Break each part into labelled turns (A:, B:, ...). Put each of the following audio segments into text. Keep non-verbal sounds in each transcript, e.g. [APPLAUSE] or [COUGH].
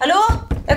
A: Hallo? Jeg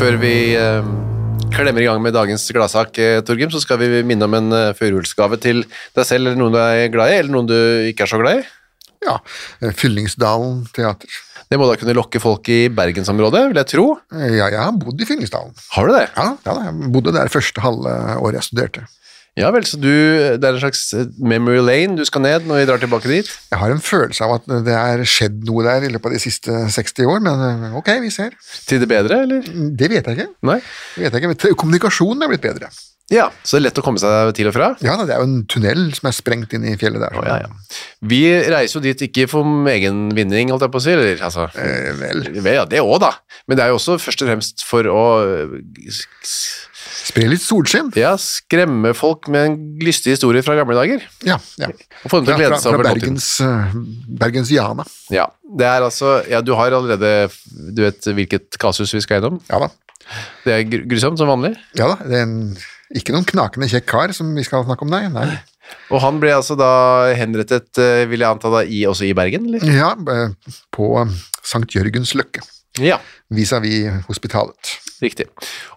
B: Før vi eh, klemmer i gang med dagens gladsak, eh, Torgrim, så skal vi minne om en eh, førjulsgave til deg selv, eller noen du er glad i, eller noen du ikke er så glad i.
C: Ja, eh, Fyllingsdalen teater.
B: Det må da kunne lokke folk i bergensområdet, vil jeg tro.
C: Eh, Ja, jeg har bodd i Fyllingsdalen.
B: Har du det?
C: Ja, ja da, jeg bodde der første halve året jeg studerte.
B: Ja vel, så du, det er en slags eh, memory lane du skal ned når vi drar tilbake dit.
C: Jeg har en følelse av at det er skjedd noe der i løpet av de siste 60 år, men eh, ok, vi ser.
B: Til det bedre, eller?
C: Det vet jeg ikke.
B: Nei?
C: Det vet jeg ikke. men te- Kommunikasjonen er blitt bedre.
B: Ja, så det er lett å komme seg til og fra.
C: Ja, da, Det er jo en tunnel som er sprengt inn i fjellet der. så-
B: Ja, ja. Vi reiser jo dit ikke for egen vinning, holdt jeg på å si, eller altså
C: Eh, vel,
B: Vel, ja, det òg, da. Men det er jo også først og fremst for å eh, s- s-
C: Spre litt solskinn.
B: ja, skremme folk med en lystig historie fra gamle dager.
C: Ja, ja.
B: Og få dem til å
C: Fra,
B: glede
C: fra,
B: seg
C: fra
B: over nåtiden.
C: Bergens, eh, Bergensiana.
B: Ja, det er altså, ja, du har allerede Du vet hvilket kasus vi skal gjennom.
C: Ja da.
B: Det er gru- grusomt, som vanlig.
C: Ja da, det er en, Ikke noen knakende kjekk kar som vi skal snakke om, nei. nei.
B: Og han ble altså da henrettet, eh, vil jeg anta, da, i, også i Bergen, eller?
C: Ja, eh, på Sankt Jørgens løkke,
B: Ja,
C: vis-à-vis hospitalet.
B: riktig.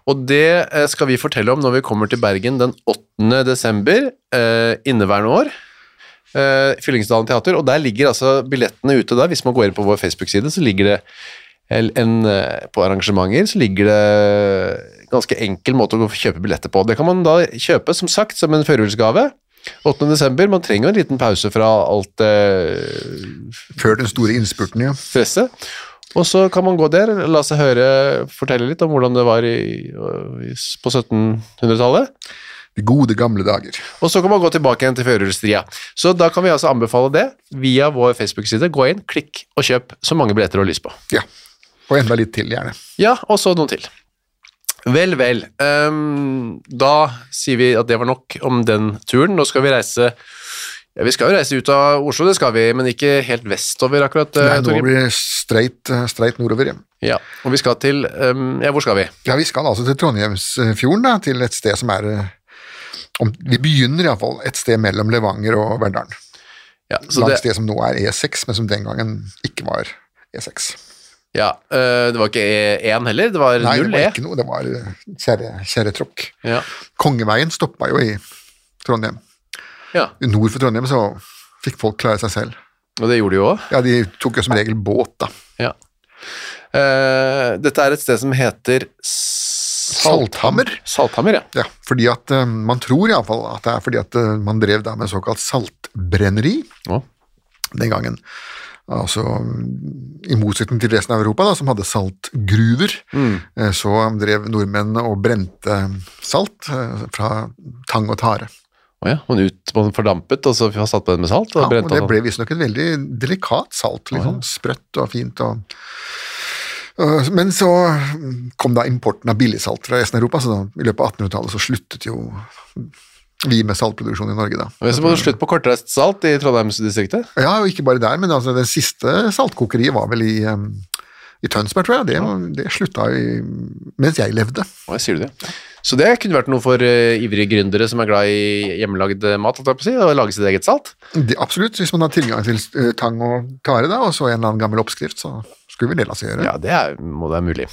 B: Og det eh, skal vi fortelle om når vi kommer til Bergen den 8. desember eh, inneværende år. Eh, Fyllingsdalen teater, og der ligger altså billettene ute der. Hvis man går inn på vår Facebook-side, så ligger det el- en, eh, på arrangementer så ligger det ganske enkel måte å gå og kjøpe billetter på. Det kan man da kjøpe, som sagt, som en førjulsgave. 8. desember, man trenger jo en liten pause fra alt eh,
C: Før den store innspurten, ja.
B: stresset. Og så kan man gå der, la seg høre, fortelle litt om hvordan det var i, i- på 1700-tallet.
C: De gode gamle dager.
B: Og så kan man gå tilbake igjen til førjulsstria. Så da kan vi altså anbefale det via vår Facebook-side. Gå inn, klikk og kjøp så mange billetter du har lyst på.
C: Ja. Og enda litt til, gjerne.
B: Ja, og så noen til. Vel, vel. Ehm, da sier vi at det var nok om den turen. Nå skal vi reise ja, Vi skal jo reise ut av Oslo, det skal vi, men ikke helt vestover akkurat. eh,
C: Nei, nå
B: Torgrim.
C: blir det streit, eh, streit nordover hjem.
B: Ja, og vi skal til ehm, Ja, hvor skal vi?
C: Ja, vi skal altså til Trondheimsfjorden, da, til et sted som er eh, om, Vi begynner iallfall et sted mellom Levanger og Verdalen.
B: Ja, så
C: Langs
B: det,
C: det som nå er E6, men som den gangen ikke var E E6.
B: ja, eh, det var ikke E1 heller, det var
C: Nei, det
B: null
C: var
B: E.
C: ikke noe, det var eh, kjerre- kjerretråkk.
B: Ja,
C: Kongeveien stoppa jo i Trondheim.
B: ja,
C: Nord for Trondheim så fikk folk klare seg selv.
B: og det gjorde de jo òg.
C: Ja, de tok jo som regel båt, da.
B: Ja. Eh, dette er et sted som heter Saltham-
C: Salthammer.
B: Salthammer, ja.
C: Ja, fordi at eh, Man tror iallfall at det er fordi at eh, man drev da med såkalt saltbrenneri
B: Å,
C: den gangen. Altså mm, I motsetning til resten av Europa, da, som hadde saltgruver, eh, så drev nordmennene og brente salt eh, fra tang og tare.
B: Å ja, man ut man fordampet, og så satt på den med salt, og
C: Ja, og
B: brente
C: det
B: av den.
C: ble visstnok et veldig delikat salt. Litt sånn sprøtt og fint. Og, Øh, men så kom da importen av billigsalt fra resten av Europa, så da, i løpet av 1800-tallet så sluttet jo Vi med saltproduksjon i Norge, da.
B: Og Jeg ser på slutt på kortreist salt i Trondheimsdistriktet.
C: Ja, og ikke bare der, men altså, det siste saltkokeriet var vel i, um, i Tønsberg, tror jeg. Det, det slutta i, mens jeg levde.
B: Hva sier du det? Så det kunne vært noe for eh, ivrige gründere som er glad i hjemmelagd mat, holdt jeg på å si, å lage sitt eget salt.
C: Det, absolutt, hvis man har tilgang til eh, tang og tare, da, og så en eller annen gammel oppskrift, så skulle vel det la seg gjøre.
B: Ja, det er, må det være mulig.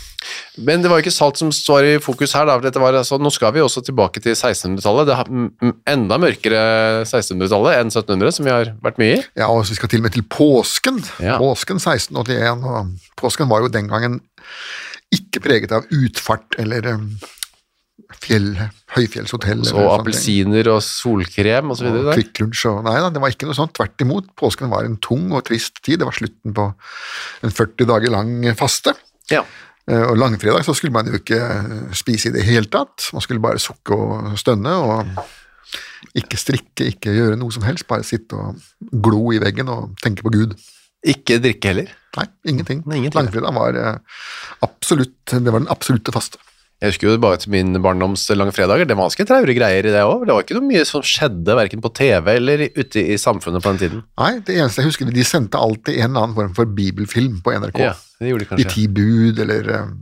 B: Men det var jo ikke salt som står i fokus her, da. for Dette var, altså, nå skal vi også tilbake til 1600-tallet. Det er mm, mm, enda mørkere 1600-tallet enn 1700, som vi har vært mye i.
C: Ja, og så vi skal til og med til påsken.
B: Ja.
C: Påsken 1681. Og påsken var jo den gangen ikke preget av utfart eller um, fjell, høyfjellshotell.
B: Så appelsiner og solkrem og så videre der.
C: Kvikklunsj og Nei da, det var ikke noe sånt. Tvert imot. Påsken var en tung og trist tid. Det var slutten på en 40 dager lang faste.
B: Ja.
C: Eh, Og langfredag så skulle man jo ikke eh, spise i det hele tatt. Man skulle bare sukke og stønne og ikke strikke, ikke gjøre noe som helst. Bare sitte og glo i veggen og tenke på Gud.
B: Ikke drikke heller.
C: Nei, ingenting.
B: Nei, ingenting.
C: Langfredag var eh, absolutt Det var den absolutte faste.
B: Jeg husker jo bare til min barndoms langfredager, det var ganske traure greier i det òg. Det var ikke noe mye som skjedde verken på TV eller ute i samfunnet på den tiden.
C: Nei, det eneste jeg husker, de sendte alltid en eller annen form for bibelfilm på NRK.
B: Ja, det gjorde de
C: De
B: kanskje.
C: ti bud, eller eh,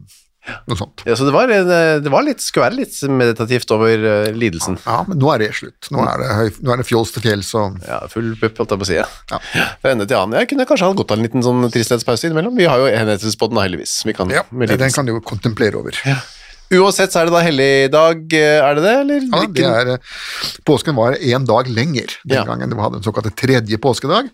C: noe sånt.
B: Ja, så det, var, en- eh, det var litt, skulle være litt meditativt over eh, lidelsen.
C: Ja, men nå er det slutt. Nå er det, høy, nå er det fjols til fjells og
B: Ja, full pupp, holdt jeg på å si. Ja. Fra ende til annen. Jeg kunne kanskje hatt godt av en liten sånn tristhetspause innimellom. Vi har jo enhetspodden, heldigvis. Vi kan,
C: ja,
B: med
C: Den
B: lidelsen.
C: kan du jo kontemplere over.
B: Uansett så er det da helligdag, eh, er det det? Eller?
C: Ja, det
B: Ikke-
C: er, eh, påsken var én dag lenger
B: Ja.
C: den gangen. Du hadde en såkalt tredje påskedag.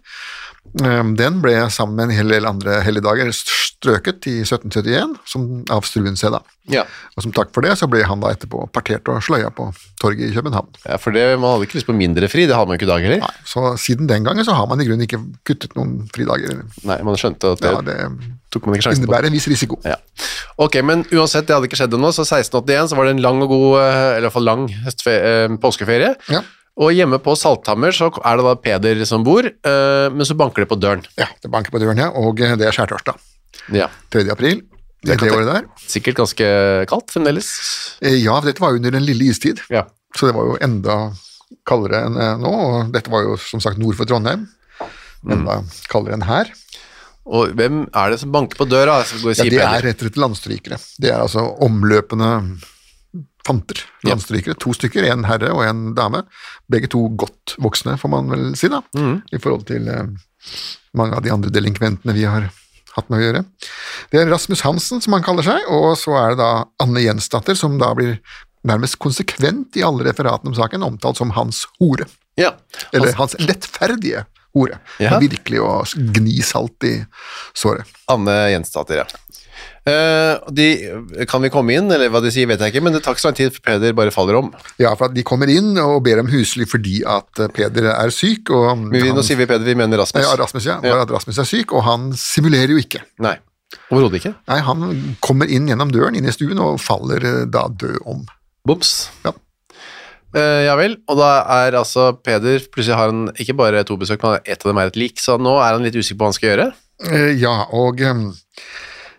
C: Ehm, Den ble sammen med en hel del andre helligdager strøket i 1771 som, av Struensee. da.
B: Ja.
C: Og som takk for det, så ble han da etterpå partert og sløya på torget i København.
B: ja, for det, man hadde ikke lyst på mindre fri, det har man jo ikke i dag heller.
C: Nei, så siden den gangen så har man i grunnen ikke kuttet noen fridager.
B: Nei, man skjønte at det,
C: Ja, det
B: tok man ikke sjansen på.
C: innebærer en viss risiko.
B: Ja. Ok, men uansett, det hadde ikke skjedd ennå, så 1681 så var det en lang og god, eh, eller i hvert fall lang høstfe- eh, påskeferie.
C: Ja.
B: Og hjemme på Salthammer så er det da Peder som bor, eh, men så banker det på døren.
C: Ja, det banker på døren, ja, og eh, det er skjærtorsdag.
B: Ja,
C: 3. april. Det, det året der.
B: sikkert ganske kaldt fremdeles.
C: Eh, Ja, dette var jo under den lille istid.
B: Ja.
C: Så det var jo enda kaldere enn eh, nå, og dette var jo som sagt nord for Trondheim. Enda kaldere enn her.
B: Og hvem er det som banker på døra? Altså, går og
C: Ja,
B: sier
C: det
B: Peder.
C: er rett og slett landstrykere. Det er altså omløpende fanter. Landstrykere. To stykker, en herre og en dame. Begge to godt voksne, får man vel si, da. I forhold til eh, mange av de andre delinkventene vi har hatt med å gjøre. Det er Rasmus Hansen, som han kaller seg, og så er det da Anne Jensdatter, som da blir nærmest konsekvent i alle referatene om saken omtalt som hans hore.
B: Ja. Altså-
C: Eller hans lettferdige hore.
B: Ja.
C: Virkelig å gni salt i såret.
B: Anne Jensdatter, ja. Eh, de, kan vi komme inn, eller hva de sier vet jeg ikke, men det tar ikke så lang tid før Peder bare faller om.
C: Ja, for at de kommer inn og ber om husly fordi at eh, Peder er syk, og
B: Men vi, nå
C: han-
B: sier vi Peder, vi mener Rasmus.
C: ja, Rasmus, ja,
B: Ja.
C: Bare at Rasmus er syk, og han simulerer jo ikke.
B: Nei, overhodet ikke.
C: Nei, han kommer inn gjennom døren, inn i stuen, og faller eh, da død om.
B: Boms.
C: Ja.
B: Eh, ja vel, og da er altså Peder, plutselig har han ikke bare to besøk, men ett av dem er et lik, så nå er han litt usikker på hva han skal gjøre.
C: Eh, Ja, og eh,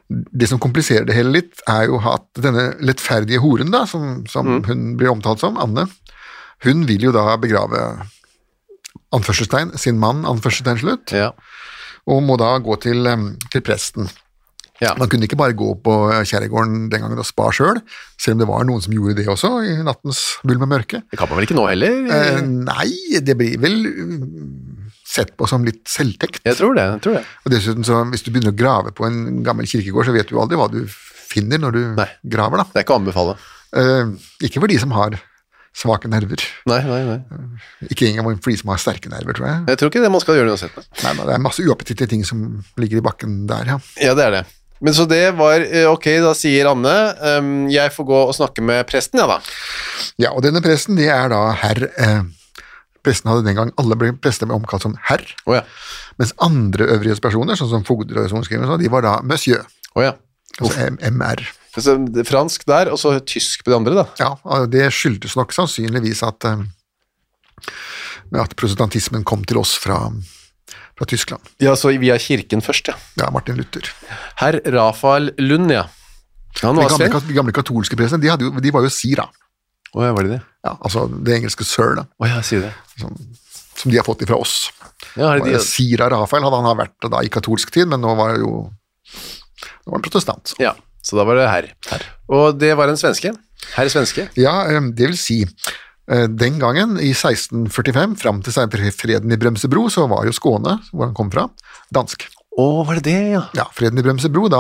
C: det som kompliserer det hele litt, er jo at denne lettferdige horen, da, som, som
B: Mm.
C: hun blir omtalt som, Anne, hun vil jo da begrave anførselstegn, sin mann, anførselstegn slutt,
B: Ja.
C: og må da gå til, eh, til presten.
B: Ja.
C: Man kunne ikke bare gå på kjerregården den gangen og spa sjøl, selv om det var noen som gjorde det også, i nattens vulm og mørke.
B: Det kan man vel ikke nå heller?
C: Eh, Nei, det blir vel mm, sett på som litt selvtekt.
B: Jeg tror det, jeg tror det.
C: Og dessuten, så, hvis du begynner å grave på en gammel kirkegård, så vet du aldri hva du finner når du
B: Nei.
C: graver, da.
B: Det er ikke å anbefale.
C: Eh, ikke for de som har svake nerver.
B: Nei, nei, nei.
C: Ikke engang for de som har sterke nerver, tror jeg.
B: Jeg tror ikke det man skal gjøre uansett. Nei.
C: Nei, nei, det er masse uappetittlige ting som ligger i bakken der, ja.
B: Ja, det er det. Men så det var eh, Ok, da sier Anne ehm, Jeg får gå og snakke med presten, ja da.
C: Ja, og denne presten, det er da herr eh, Presten hadde den gang alle ble prester ble omkalt som herr,
B: Å ja.
C: mens andre øvrighetspersoner, sånn som fogder og sorenskrivere, og sånn, de var da monsieur,
B: Å ja.
C: altså M- MR.
B: Så det er fransk der, og så tysk på de andre, da.
C: Ja, og det skyldtes nok sannsynligvis at, eh, at protestantismen kom til oss fra, fra Tyskland.
B: Ja, så via kirken først, ja.
C: Ja, Martin Luther.
B: Herr Rafael Lund, ja. Han
C: De
B: var
C: gamle,
B: streng.
C: kat- de gamle katolske prestene de, hadde jo, de var jo sira.
B: Å ja, var det det?
C: Ja, altså det engelske sir, da,
B: Å ja, si det.
C: som de har fått ifra oss.
B: Ja, er det
C: Det var
B: de,
C: jo Sira Rafael hadde han har vært det da i katolsk tid, men nå var det jo nå var han protestant.
B: ja, så da var det herr. Og det var en svenske. Herr svenske.
C: Ja, eh, det vil si eh, den gangen, i 1645, fram til freden i Bremsebro, så var jo Skåne, hvor han kom fra, dansk.
B: Å, var det det, ja?
C: Ja, freden i Bremsebro, da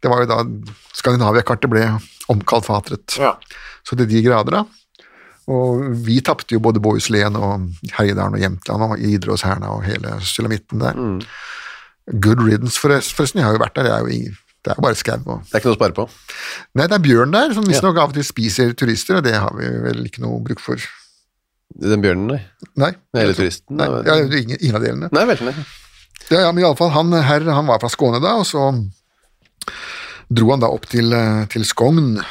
C: Det var jo da Skandinavia-kartet ble omkalt forhatret.
B: Ja.
C: Så til de grader, da. Og vi tapte jo både Bohuslän og Herjedalen og Jämtland og Idrettshærene og hele sulamitten der.
B: Mm.
C: Good riddance, forrest- forresten. Jeg har jo vært der. Det er jo, i, det er jo bare skau. og-
B: Det er ikke noe å spare på.
C: Nei, det er bjørn der, som visstnok av og til spiser turister, og det har vi vel ikke noe bruk for.
B: Den bjørnen, nei.
C: Nei.
B: Eller turisten.
C: Nei,
B: da.
C: ja, ingen, ingen av delene.
B: Nei vel. nei.
C: Ja, ja, men iallfall, han her han var fra Skåne da, og så dro han da opp til, eh, til Skogn, eh,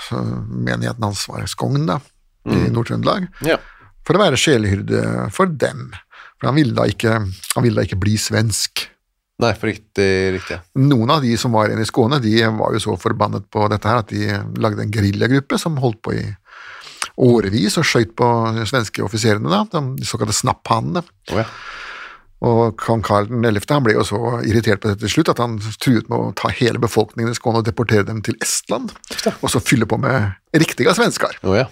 C: menigheten hans var i Skogn da,
B: Mm.
C: i Nord-Trøndelag,
B: Ja.
C: for å være sjelehyrde for dem. For han ville da ikke, han ville da ikke bli svensk.
B: Nei, for riktig, riktig.
C: Noen av de som var igjen i Skåne, de var jo så forbannet på dette her at de lagde en geriljagruppe som holdt på i årevis og skøyt på de svenske offiserene, da, de såkalte snapphanene.
B: Å ja.
C: Og kong Karl 11. han ble jo så irritert på dette til slutt at han truet med å ta hele befolkningen i Skåne og deportere dem til Estland, og så fylle på med riktige svensker.
B: Å, ja.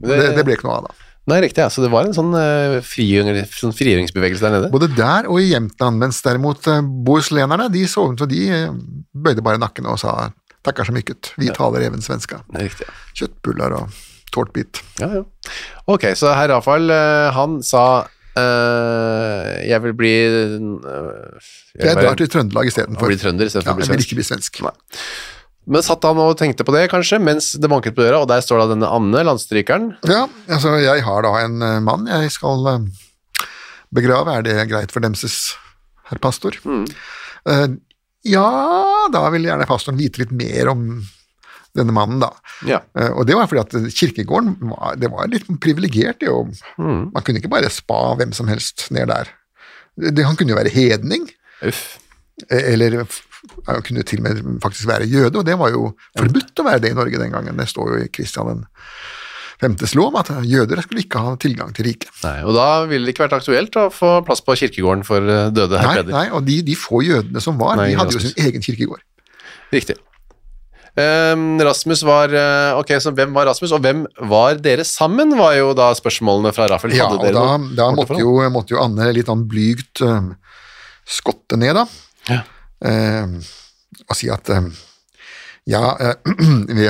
B: Men
C: Det, det ble ikke noe av, da.
B: Nei, riktig. Ja. Så det var en sånn, eh, frigjøring, sånn frigjøringsbevegelse der nede.
C: Både der og i Jämtland, mens derimot eh, bohuslänerne, de så ut som de eh, bøyde bare nakken og sa takkar så mykket, vi taler even svenska.
B: Nei, riktig. ja.
C: Kjøttbuller og tårtbit.
B: Ja, ja. Ok, så herr Rafael, eh, han sa eh, Jeg vil bli eh,
C: Jeg
B: vil være-
C: drar til Trøndelag
B: Han
C: istedenfor.
B: blir trønder istedenfor
C: Ja,
B: å bli
C: jeg vil
B: svensk.
C: ikke bli svensk.
B: Men satt han og tenkte på det, kanskje, mens det banket på døra, og der står da denne Anne, landstrykeren.
C: Ja, altså jeg har da en eh, mann jeg skal eh, begrave, er det greit for Demses, herr pastor?
B: Mm.
C: Eh, ja, da vil gjerne pastoren vite litt mer om denne mannen, da.
B: Ja.
C: Eh, og det var fordi at kirkegården var, det var litt privilegert, jo.
B: Mm.
C: Man kunne ikke bare spa hvem som helst ned der. Det, han kunne jo være hedning,
B: Uff.
C: eh, eller f- han kunne til og med faktisk være jøde, og det var jo forbudt å være det i Norge den gangen. Det står jo i Kristian den femtes lov at jøder skulle ikke ha tilgang til riket.
B: Nei, og da ville det ikke vært aktuelt å få plass på kirkegården for eh, døde herr
C: Nei,
B: Peder.
C: nei, og de, de få jødene som var,
B: Nei,
C: de hadde jo
B: Rasmus.
C: sin egen kirkegård.
B: Riktig. Ehm, Rasmus var eh, Ok, så hvem var Rasmus, og hvem var dere sammen, var jo da spørsmålene fra Rafael.
C: Ja,
B: Hadde
C: og
B: dere
C: da,
B: noe
C: da
B: forhold til
C: måtte, jo, måtte jo Anne litt sånn blygt eh, skotte ned, da.
B: Ja.
C: Eh, og si at eh, ja, eh, [CLEARS THROAT] vi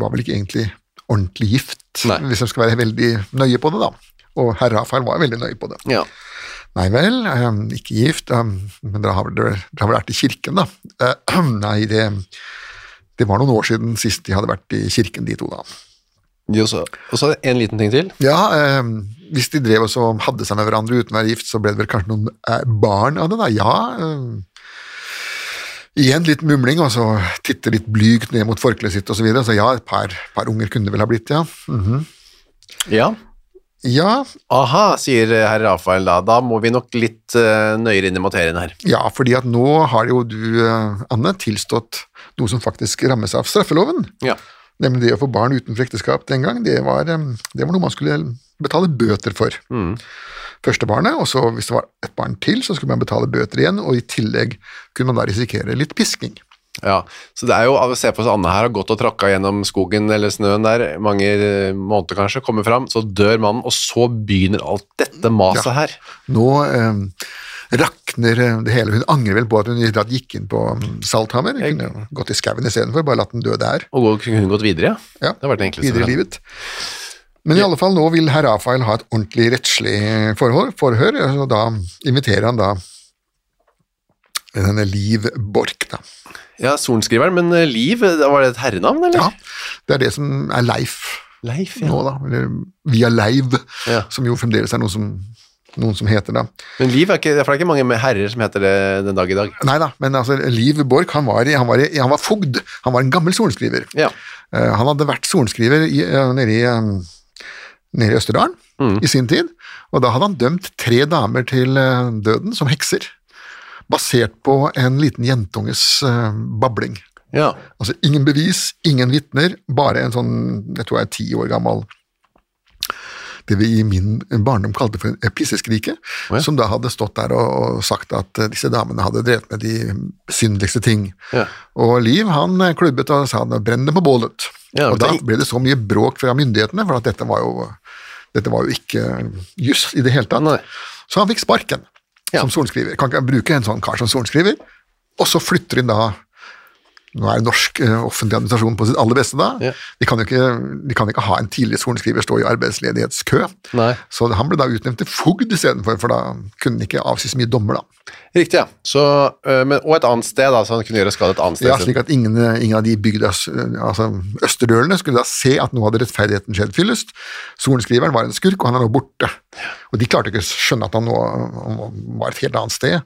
C: var vel ikke egentlig ordentlig gift,
B: Nei.
C: hvis jeg skal være veldig nøye på det, da. Og herr Rafael var veldig nøye på det.
B: Ja.
C: Nei vel, eh, ikke gift, eh, men dere har, vel- dere har vel vært i kirken, da? Eh, [CLEARS THROAT] nei, det, det var noen år siden sist de hadde vært i kirken, de to, da.
B: Jo, så- Og så en liten ting til.
C: Ja, eh, hvis de drev og så hadde seg med hverandre uten å være gift, så ble det vel kanskje noen eh, barn av det, da? Ja. Eh, igjen litt mumling, og så titte litt blygt ned mot forkleet sitt, og så videre. Så ja, et par, par unger kunne det vel ha blitt, ja. Mhm.
B: Ja.
C: Ja,
B: Aha, sier eh, herr Rafael da. Da må vi nok litt eh, nøyere inn i materien her.
C: Ja, fordi at nå har jo du, eh, Anne, tilstått noe som faktisk rammes av straffeloven.
B: Ja.
C: Nemlig det å få barn utenfor ekteskap den gang, det var, eh, det var noe man skulle betale bøter for. Første barnet, og så hvis det var et barn til, så skulle man betale bøter igjen, og i tillegg kunne man da risikere litt pisking.
B: Ja, så det er jo av å se på så Anne her har gått og tråkka gjennom skogen eller snøen der mange eh, måneder kanskje, kommer fram, så dør mannen, og så begynner alt dette maset
C: Ja.
B: her.
C: Nå eh, rakner eh, det hele. Hun angrer vel på at hun i det hele tatt gikk inn på mm, Salthammer. Hun kunne gått i skauen istedenfor, bare latt den dø der.
B: Og gå- kunne hun gått videre, ja.
C: Ja,
B: Det var den enkleste.
C: videre i livet. Men i alle fall, nå vil herr Rafael ha et ordentlig rettslig forhør, forhør og da inviterer han da denne Liv Borch, da.
B: Ja, sorenskriveren, men eh, Liv, eh, var det et herrenavn, eller?
C: Ja, det er det som er Leif
B: Leif, ja.
C: nå, da. Eller Via Leiv,
B: Ja.
C: som jo fremdeles er noe som, noen som heter da.
B: Men Liv er ikke, for det er ikke mange med herrer som heter det eh, den dag i dag.
C: Nei da, men altså, Liv Borch, han var, i- han, var, i- han var fogd. Han var en gammel sorenskriver.
B: Ja,
C: Eh, Han hadde vært sorenskriver i, eh, nede i, eh, nede i Østerdalen i sin tid, og da hadde han dømt tre damer til eh, døden som hekser, basert på en liten jentunges eh, babling.
B: ja.
C: Altså ingen bevis, ingen vitner, bare en sånn, jeg tror jeg er ti år gammel det vi i min barndom kalte for en pisseskrike,
B: ja.
C: som da hadde stått der og, og sagt at eh, disse damene hadde drevet med de besynderligste ting.
B: Ja.
C: Og Liv han eh, klubbet og sa at brenn det på bålet.
B: Ja,
C: og da
B: tenk-
C: ble det så mye bråk fra myndighetene, for at dette var jo, dette var jo ikke juss i det hele tatt.
B: Nei.
C: Så han fikk sparken
B: Ja.
C: som sorenskriver. Kan ikke bruke en sånn kar som sorenskriver. Og så flytter hun da Nå er norsk eh, offentlig administrasjon på sitt aller beste da.
B: Ja.
C: De, kan jo ikke, de kan ikke ha en tidligere sorenskriver stå i arbeidsledighetskø.
B: Nei.
C: Så han ble da utnevnt til fogd istedenfor, for da kunne han ikke avsi så mye dommer, da.
B: Riktig, ja. Så, øh, men, og et annet sted, da, så han kunne gjøre skade et annet sted.
C: Ja, slik at ingen, ingen av de bygdas altså østerdølene skulle da se at nå hadde rettferdigheten skjedd fyllest. Sorenskriveren var en skurk, og han er nå borte. Og de klarte ikke å skjønne at han nå han var et helt annet sted.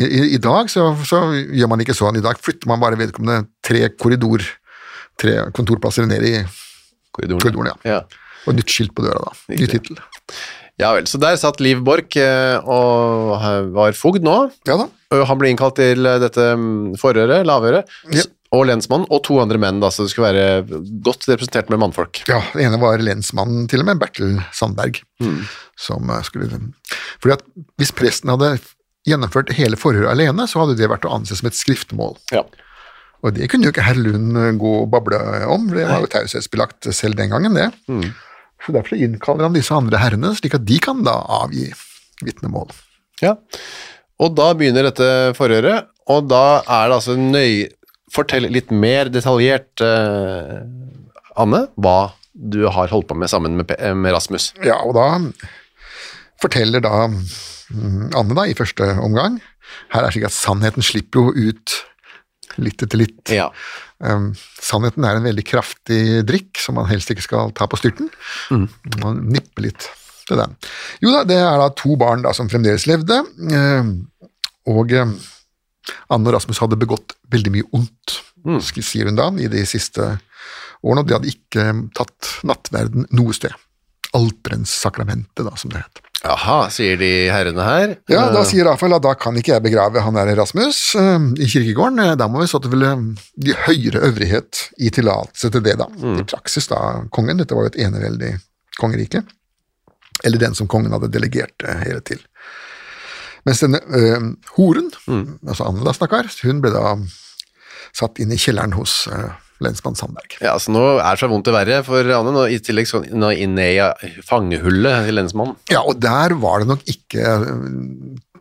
C: I, i, i dag så, så gjør man ikke sånn. I dag flytter man bare vedkommende tre korridor, tre kontorplasser ned i
B: korridoren.
C: korridoren, ja.
B: ja.
C: Og nytt skilt på døra, da. Ny tittel.
B: Ja vel, så der satt Liv Borch øh, og øh, var fogd nå.
C: Ja da.
B: Øh, Han ble innkalt til øh, dette mm, forhøret, lavøret,
C: Ja.
B: s- og lensmannen, og to andre menn, da, så det skulle være godt representert med mannfolk.
C: Ja, den ene var lensmannen til og med, Bertil Sandberg, som eh, skulle Fordi at hvis presten hadde gjennomført hele forhøret alene, så hadde det vært å anse som et skriftmål.
B: Ja.
C: Og det kunne jo ikke herr Lund eh, gå og bable om, for det var jo taushetsbelagt selv den gangen, det. Så derfor innkaller han disse andre herrene, slik at de kan da avgi vitnemål.
B: Ja. Og da begynner dette forhøret, og da er det altså nøy... Fortell litt mer detaljert, eh, Anne, hva du har holdt på med sammen med, Pe- eh, med Rasmus.
C: Ja, og da forteller da mm, Anne da, i første omgang Her er det slik at sannheten slipper jo ut litt etter litt.
B: Ja.
C: Um, sannheten er en veldig kraftig drikk som man helst ikke skal ta på styrten. Man nipper litt til den. Jo da, det er da to barn da som fremdeles levde, um, og um, Anne og Rasmus hadde begått veldig mye ondt, sk- sier hun da, i de siste årene, og de hadde ikke um, tatt nattverden noe sted. Alterens sakramente, da, som det het.
B: Jaha, sier de herrene her.
C: Ja, da
B: Eh,
C: sier Rafael at da kan ikke jeg begrave han der Rasmus eh, i kirkegården. Eh, Da må vi så til vel, eh, de høyere øvrighet i tillatelse til det, da. I praksis da kongen. Dette var jo et eneveldig kongerike. Eller den som kongen hadde delegert eh, hele til. Mens denne eh, horen, altså Anne da, stakkar, hun ble da satt inn i kjelleren hos eh, lensmann Sandberg.
B: Ja, så nå er det så vondt det verre for Anne, nå, i tillegg skal hun inn i fangehullet til lensmannen.
C: Ja, og der var det nok ikke eh,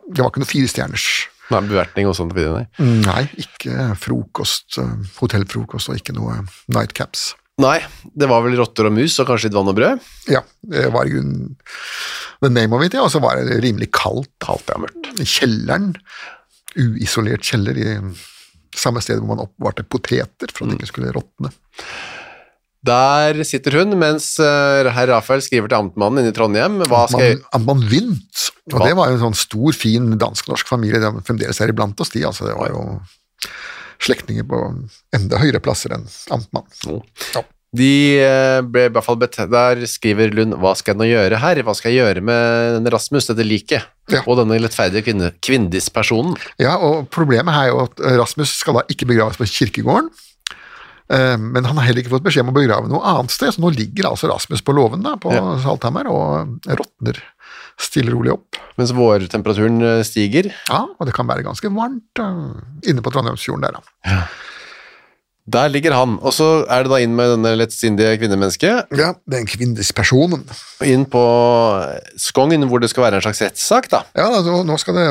C: Det var ikke noe firestjerners
B: Nei, bevertning og sånt. videre, Nei.
C: Nei, ikke frokost, eh, hotellfrokost og ikke noe nightcaps.
B: nei, det var vel rotter og mus og kanskje litt vann og brød.
C: Ja, det var i grunnen the name of it, ja, og så var det rimelig kaldt. Kaldt, ja, mørkt. Kjelleren, uisolert kjeller i samme sted hvor man oppvarte poteter for
B: Mm.
C: at det ikke skulle råtne.
B: Der sitter hun, mens eh, herr Rafael skriver til amtmannen inne i Trondheim. Hva skal jeg...
C: Man, man Vint, og
B: Hva?
C: det var jo en sånn stor, fin dansk-norsk familie, de er fremdeles er iblant oss, de, altså det var jo slektninger på enda høyere plasser enn amtmann. Ja.
B: De eh, ble i hvert fall bet Der skriver Lund Hva skal jeg nå gjøre her? Hva skal jeg gjøre med denne Rasmus, dette liket?
C: Ja.
B: Og denne lettferdige kvinne, kvinnedispersonen?
C: Ja, og problemet her er jo at eh, Rasmus skal da ikke begraves på kirkegården, eh, men han har heller ikke fått beskjed om å begrave noe annet sted, så nå ligger altså Rasmus på låven da, på
B: Ja.
C: Salthammer og råtner stille og rolig opp.
B: Mens vårtemperaturen eh, stiger.
C: Ja, og det kan være ganske varmt eh, inne på Trondheimsfjorden der da.
B: Der ligger han. Og så er det da inn med denne lettsindige kvinnemennesket.
C: Ja, den kvinnespasjonen.
B: og Inn på eh, Skogn, hvor det skal være en slags rettssak, da.
C: Ja, altså, nå, skal det,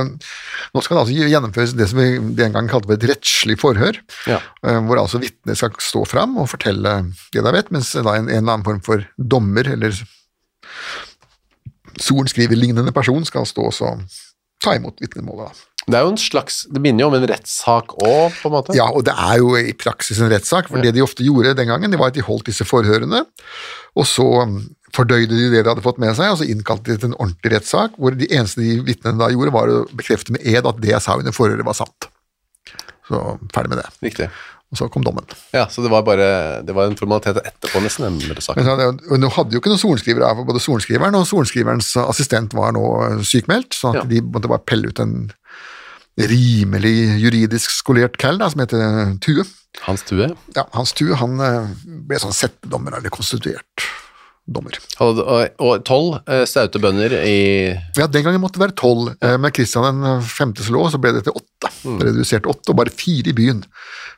C: nå skal det altså gjennomføres det som vi den gangen kalte for et rettslig forhør,
B: Ja.
C: eh, hvor altså vitnet skal stå fram og fortelle det de vet, mens da en, en eller annen form for dommer eller sorenskriverlignende person skal stå og så ta imot vitnemålet. da.
B: Det er jo en slags Det minner jo om en rettssak òg, på en måte.
C: Ja, og det er jo i praksis en rettssak, for det de ofte gjorde den gangen, det var at de holdt disse forhørene, og så mm, fordøyde de det de hadde fått med seg, og så innkalte de til en ordentlig rettssak, hvor de eneste de vitnene da gjorde, var å bekrefte med ed at det jeg sa under forhøret var sant. Så ferdig med det.
B: Riktig.
C: Og så kom dommen.
B: Ja, så det var bare Det var en formalitet etterpå, nesten, den rettssaken.
C: Men så, hadde- og nå hadde jo ikke noen sorenskrivere her, for både sorenskriver og sorenskriverens assistent var nå eh, sykmeldt, så
B: Ja.
C: at de måtte bare pelle ut en rimelig juridisk skolert kall da, som heter øh, Tue.
B: Hans Tue.
C: øh, ja, Hans Tue han eh, ble sånn settedommer, eller konstituert dommer.
B: Hadde, og- og tolv eh, staute bønder i
C: Ja, Den gangen måtte det være tolv. Eh, Med Kristian den femtes lov så ble det til åtte.
B: Mm.
C: Det Redusert til åtte, og bare fire i byen.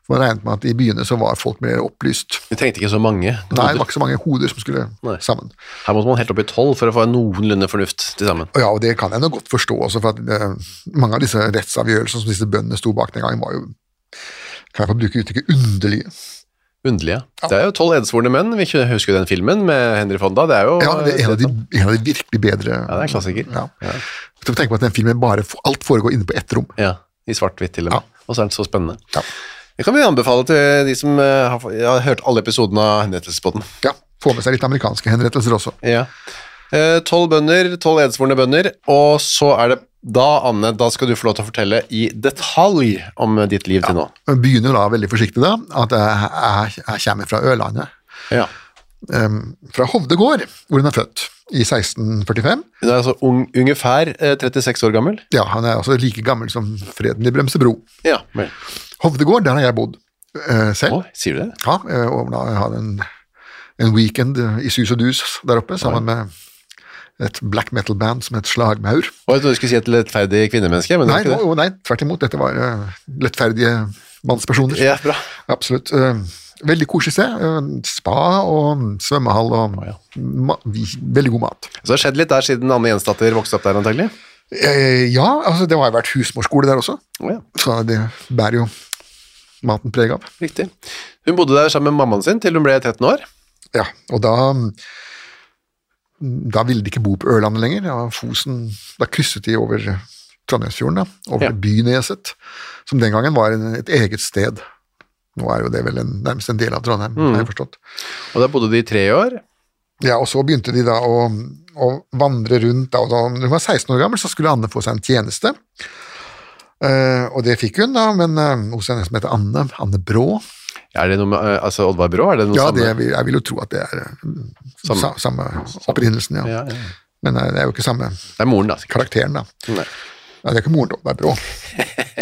C: For Man regnet med at i byene så var folk mer opplyst.
B: Vi trengte ikke så mange.
C: Nei, det var ikke så mange hoder som skulle
B: Nei.
C: sammen.
B: Her måtte man helt opp i tolv for å få noenlunde fornuft til sammen.
C: Og ja, og det kan jeg nå godt forstå også, for at eh, mange av disse rettsavgjørelsene som disse bøndene sto bak den gangen, var jo kan jeg få bruke uttrykket underlige.
B: Underlig, ja. Det er jo tolv edsvorne menn. Vi kunne- husker jo den filmen med Henry Fonda. Det er jo
C: Ja, det er en av de, en av de virkelig bedre
B: Ja, det er en klassiker.
C: Ja. Så Tenk på at den filmen bare alt foregår inne på ett rom.
B: Ja, I svart-hvitt til og med. Og så er den så spennende.
C: Ja.
B: Det kan vi anbefale til de som eh, har, har hørt alle episodene av Henrettelsesbåten.
C: Ja, Få med seg litt amerikanske henrettelser også.
B: Ja. Eh, Tolv bønder, tolv edsvorne bønder, og så er det da, Anne, da skal du få lov til å fortelle i detalj om ditt liv til nå.
C: Men begynner da veldig forsiktig da, at eh, jeg, jeg, jeg kommer fra Ørlandet.
B: Ja.
C: em, fra Hovde gård, hvor hun er født, i 1645.
B: Hun er altså ung, ungefær eh, 36 år gammel.
C: Ja, Han er altså like gammel som freden i Bremsebro.
B: Ja, vel.
C: Hovde gård, der har jeg bodd eh, selv.
B: Å, sier du det?
C: Ja, eh, og da jeg hadde en, en weekend eh, i sus og dus der oppe, sammen med et black metal-band som het Slagmaur.
B: Og jeg trodde du skulle si et lettferdig kvinnemenneske, men
C: Nei,
B: det var ikke det.
C: å, nei, tvert imot, dette var eh, lettferdige mannspersoner.
B: Ja, bra.
C: Absolutt. Eh, Veldig koselig sted. Eh, Spa og svømmehall og
B: ja.
C: ma vi- veldig god mat.
B: Så det har skjedd litt der siden Anne Jensdatter vokste opp der, antagelig.
C: Eh, Ja, altså det har jo vært husmorskole der også,
B: Å ja,
C: så det bærer jo maten preg av.
B: riktig. Hun bodde der sammen med mammaen sin til hun ble 13 år.
C: Ja, og da da ville de ikke bo på Ørlandet lenger. Da, Fosen, da krysset de over Trondheimsfjorden, da,
B: Ja.
C: over Byneset, som den gangen var en, et eget sted. Nå er jo det vel en, nærmest en del av Trondheim, har
B: Mm.
C: jeg forstått.
B: Og der bodde de i tre år.
C: Ja, og så begynte de da å, å vandre rundt. Da, og da når hun var 16 år gammel, så skulle Anne få seg en tjeneste. Eh, og det fikk hun, da, men eh, hos en som heter Anne, Anne Brå.
B: Er det noe med eh, altså Oddvar Brå? Er det noe
C: Ja, det,
B: samme?
C: vil- jeg vil jo tro at det er eh,
B: Samme.
C: sa, samme opprinnelsen, ja.
B: Ja, ja.
C: Men eh, det er jo ikke samme
B: Det er moren, da. sikkert.
C: karakteren, da.
B: Nei.
C: Ja, det er ikke moren til Oddvar Brå,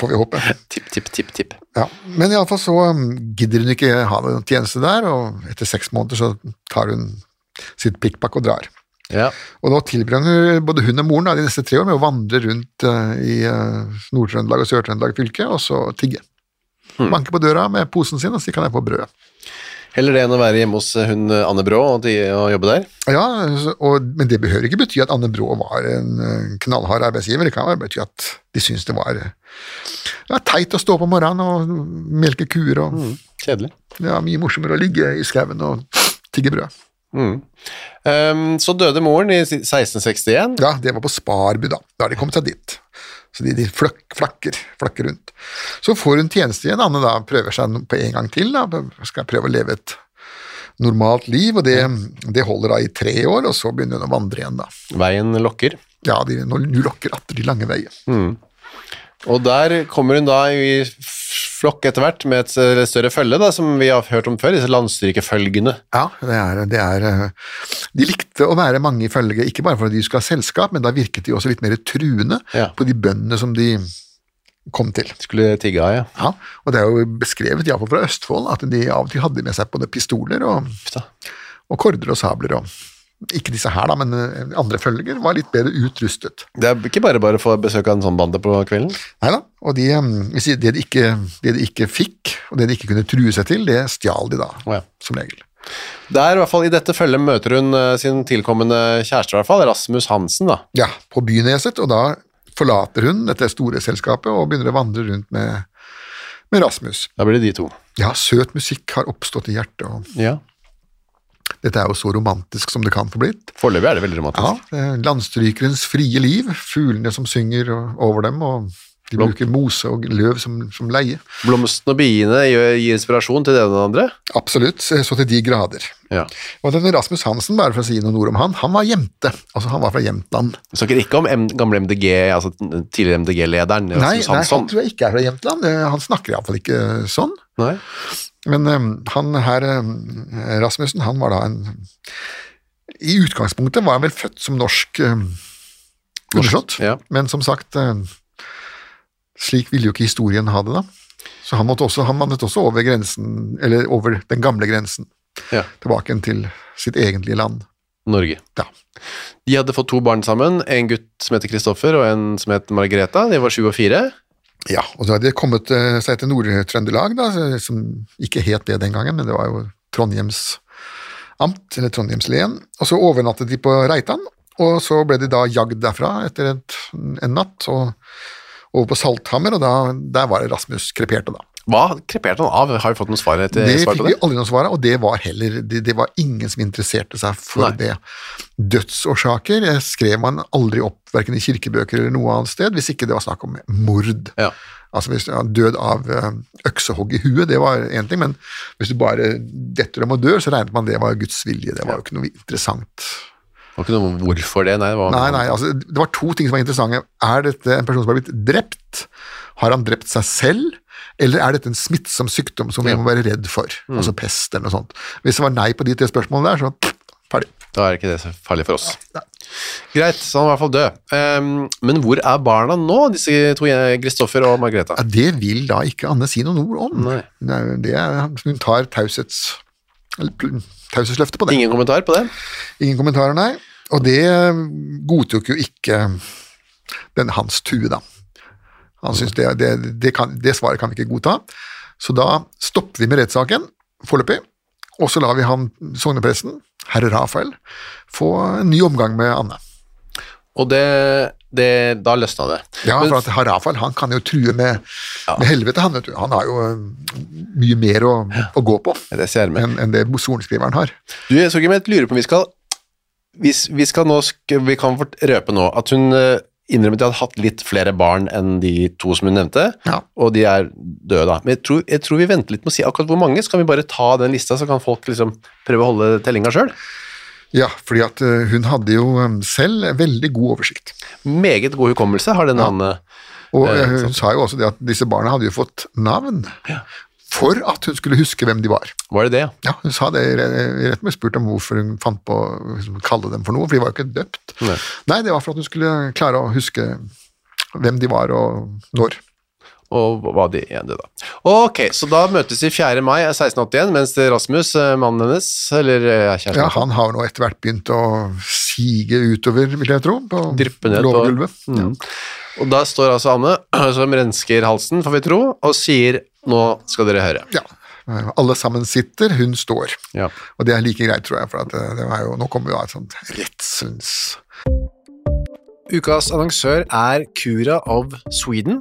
C: får vi håpe.
B: Tipp, tipp, tipp, tipp.
C: Ja, Men iallfall så um, gidder hun ikke ha noen tjeneste der, og etter seks måneder så tar hun sitt pikkpakk og drar.
B: Ja.
C: Og nå tilbringer både hun og moren da, de neste tre år med å vandre rundt eh, i eh, Nord-Trøndelag og Sør-Trøndelag fylke, og så tigge. Banke på døra med posen sin og si kan jeg få brød.
B: Heller det enn å være hjemme hos hun eh, Anne Brå og, de, og jobbe der.
C: Ja, så- og, Men det behøver ikke bety at Anne Brå var en eh, knallhard arbeidsgiver. Det kan bare bety at de syntes det var eh, ja, teit å stå opp om morgenen og melke kuer og
B: Kjedelig.
C: ja, mye morsommere å ligge i skauen og tigge brød.
B: Ehm, så døde moren i si- 1661.
C: Ja, det var på Sparbu, da. Da har de kommet seg dit. Så de, de fløkk, flakker, flakker rundt. Så får hun tjeneste igjen. Anne da prøver seg på en gang til. da, Skal prøve å leve et normalt liv, og det, det holder da i tre år, og så begynner hun å vandre igjen, da.
B: Veien lokker.
C: Ja, de, nå nå lokker atter de lange veier.
B: Og der kommer hun da i flokk etter hvert med et eh, større følge, da, som vi har hørt om før, disse landstrykefølgene.
C: Ja, det er, det er eh, De likte å være mange i følge, ikke bare fordi de skulle ha selskap, men da virket de også litt mer truende
B: Ja.
C: på de bøndene som de kom til.
B: Skulle tigge av, ja.
C: Ja, og det er jo beskrevet, iallfall fra Østfold, at de av og til hadde med seg både pistoler og,
B: Uff da.
C: og korder og sabler og Ikke disse her, da, men eh, andre følger var litt bedre utrustet.
B: Det er ikke bare bare å få besøk av en sånn bande på kvelden.
C: Neida, Og de, eh, vi sier det, de ikke, det de ikke fikk, og det de ikke kunne true seg til, det stjal de da,
B: ja.
C: som regel.
B: Der, i hvert fall i dette følget, møter hun eh, sin tilkommende kjæreste, i hvert fall, Rasmus Hansen, da.
C: Ja, på Byneset, og da forlater hun dette store selskapet og begynner å vandre rundt med, med Rasmus.
B: Da blir det de to.
C: Ja, søt musikk har oppstått i hjertet, og
B: Ja.
C: dette er jo så romantisk som det kan få blitt.
B: Foreløpig er det veldig romantisk.
C: Ja, det er landstrykerens frie liv, fuglene som synger og- over dem, og de
B: Blom-
C: bruker mose og løv som, som leie.
B: Blomsten og biene gjør, gir inspirasjon til det ene og det andre.
C: Absolutt, så til de grader.
B: Ja.
C: Og denne Rasmus Hansen, bare for å si noen ord om han, han var jemte. Altså, han var fra Jämtland.
B: Vi snakker ikke om M gamle MDG, altså den tidligere MDG-lederen.
C: Nei,
B: Rasmus
C: nei, han
B: Hansson.
C: tror jeg ikke er fra Jämtland. Eh, Han snakker iallfall ikke sånn.
B: Nei.
C: Men eh, han her, eh, Rasmussen, han var da en I utgangspunktet var han vel født som norsk eh, undersått,
B: ja.
C: men som sagt eh, Slik ville jo ikke historien ha det, da. Så han, måtte også, han vandret også over grensen, eller over den gamle grensen,
B: Ja.
C: tilbake igjen til sitt egentlige land.
B: Norge.
C: Ja.
B: De hadde fått to barn sammen, en gutt som heter Kristoffer og en som het Margareta. De var sju og fire.
C: Ja, og så hadde de kommet eh, seg til Nord-Trøndelag, da, som ikke het det den gangen, men det var jo Trondheims amt, eller Trondheimslen. Og så overnattet de på Reitan, og så ble de da jagd derfra etter et, en natt, og over på Salthammer, og da, der var det Rasmus kreperte, da.
B: Hva kreperte han av? Har vi fått noen svar, etter,
C: Det
B: svar
C: fikk
B: på
C: vi
B: det?
C: aldri noe svar av, og det var heller det, det var ingen som interesserte seg for
B: Nei.
C: det. Dødsårsaker eh, skrev man aldri opp, verken i kirkebøker eller noe annet sted, hvis ikke det var snakk om mord.
B: Ja.
C: Altså hvis ja, Død av eh, øksehogg i huet, det var én ting, men hvis du bare detter om og dør, så regnet man det var Guds vilje. Det var jo ikke noe interessant.
B: Det var ikke noe hvorfor det, nei. Det var,
C: Nei, nei, altså Det var to ting som var interessante. Er dette en person som har blitt drept? Har han drept seg selv? Eller er dette en smittsom sykdom som vi må være redd for? Altså pest eller noe sånt. Hvis det var nei på de tre spørsmålene der, så ferdig.
B: Da er ikke det så farlig for oss. Greit, så han var i hvert fall død. Ehm, men hvor er barna nå, disse to je- Kristoffer og Margareta?
C: Ja, det vil da ikke Anne si noen ord om.
B: Nei.
C: Det er, det er, hun tar taushets... eller pl- taushetsløftet på det.
B: Ingen kommentar på det?
C: Ingen kommentarer, nei. Og det eh, godtok jo ikke den Hans Tue, da. Han synes det, det, det, kan, det svaret kan vi ikke godta. Så da stopper vi med rettssaken foreløpig, og så lar vi han sognepresten, herr Rafael, få en ny omgang med Anne.
B: Og det, det Da løsna det.
C: Ja,
B: Men-
C: for at herr Rafael han kan jo true med, med helvete, han vet du. Han har jo eh, mye mer å, å gå på
B: Det ser jeg med.
C: enn enn det sorenskriveren har.
B: Du, Sorgrim, jeg lurer på om vi skal Vi, vi skal nå sk- Vi kan fort- røpe nå at hun eh, innrømmet at hun hadde hatt litt flere barn enn de to som hun nevnte,
C: Ja.
B: og de er døde da. Men jeg tror, jeg tror vi venter litt med å si akkurat hvor mange, så kan vi bare ta den lista, så kan folk liksom prøve å holde tellinga sjøl.
C: Ja, fordi at eh, hun hadde jo eh, selv veldig god oversikt.
B: Meget god hukommelse har denne Hanne.
C: Og
B: Eh,
C: eh,
B: ikke
C: hun
B: sant.
C: sa jo også det at disse barna hadde jo fått navn for at hun skulle huske hvem de var.
B: Var det det, ja?
C: Ja, Hun sa det i re- i rett med spurt om hvorfor hun fant på å liksom, kalle dem for noe, for de var jo ikke døpt.
B: Nei.
C: det var for at hun skulle klare å huske hvem de var og når.
B: og hva de er det da. Ok, så da møtes de 4. mai 1681, mens Rasmus, eh, mannen hennes, eller eh, kjæresten,
C: Ja, Han har jo nå etter hvert begynt å sige utover, vil jeg tro, på
B: Dryppe ned på- Mm.
C: lårgulvet. Ja.
B: og da står altså Anne, [CLEARS THROAT] som rensker halsen, får vi tro, og sier, nå skal dere høre.
C: Ja. Eh, Alle sammen sitter, hun står.
B: Ja.
C: Og det er like greit, tror jeg, for at eh, det var jo, nå kommer jo et sånt redselens
B: Ukas annonsør er Cura of Sweden.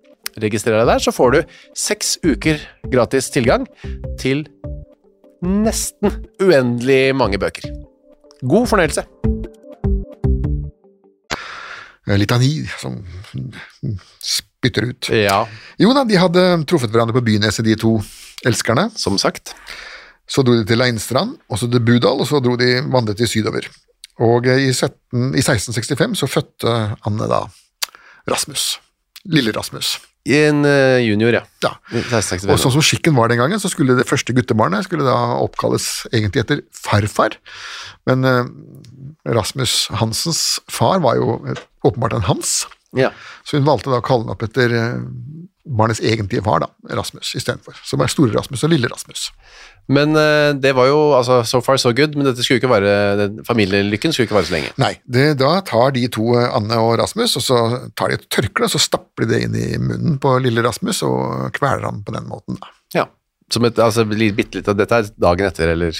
B: Registrer deg der, så får du seks uker gratis tilgang til nesten uendelig mange bøker. God fornøyelse.
C: Eh, Litani som spytter ut.
B: Ja,
C: Jo da, de hadde truffet hverandre på Byneset, de to elskerne.
B: som sagt.
C: Så dro de til Leinstrand, og så til Budal, og så dro de vandret de sydover. Og eh, i, 17, i 1665 så fødte Anne da Rasmus. Lille Rasmus.
B: En eh, junior, ja.
C: Ja. Og
B: 1665.
C: sånn som skikken var den gangen, så skulle det første guttebarnet skulle da oppkalles egentlig etter farfar. Men eh, Rasmus Hansens far var jo et- åpenbart en Hans,
B: Ja.
C: så hun valgte da å kalle den opp etter eh, barnets egentlige far, da, Rasmus, istedenfor. Som er Store Rasmus og Lille Rasmus.
B: Men eh, det var jo altså, so far so good, men dette skulle jo ikke være, den familielykken skulle jo ikke vare så lenge.
C: Nei, det, da tar de to, eh, Anne og Rasmus, og så tar de et tørkle, og så stapper de det inn i munnen på lille Rasmus og kveler ham på den måten, da.
B: Ja. Som et altså, li- bitte litt av dette er dagen etter, eller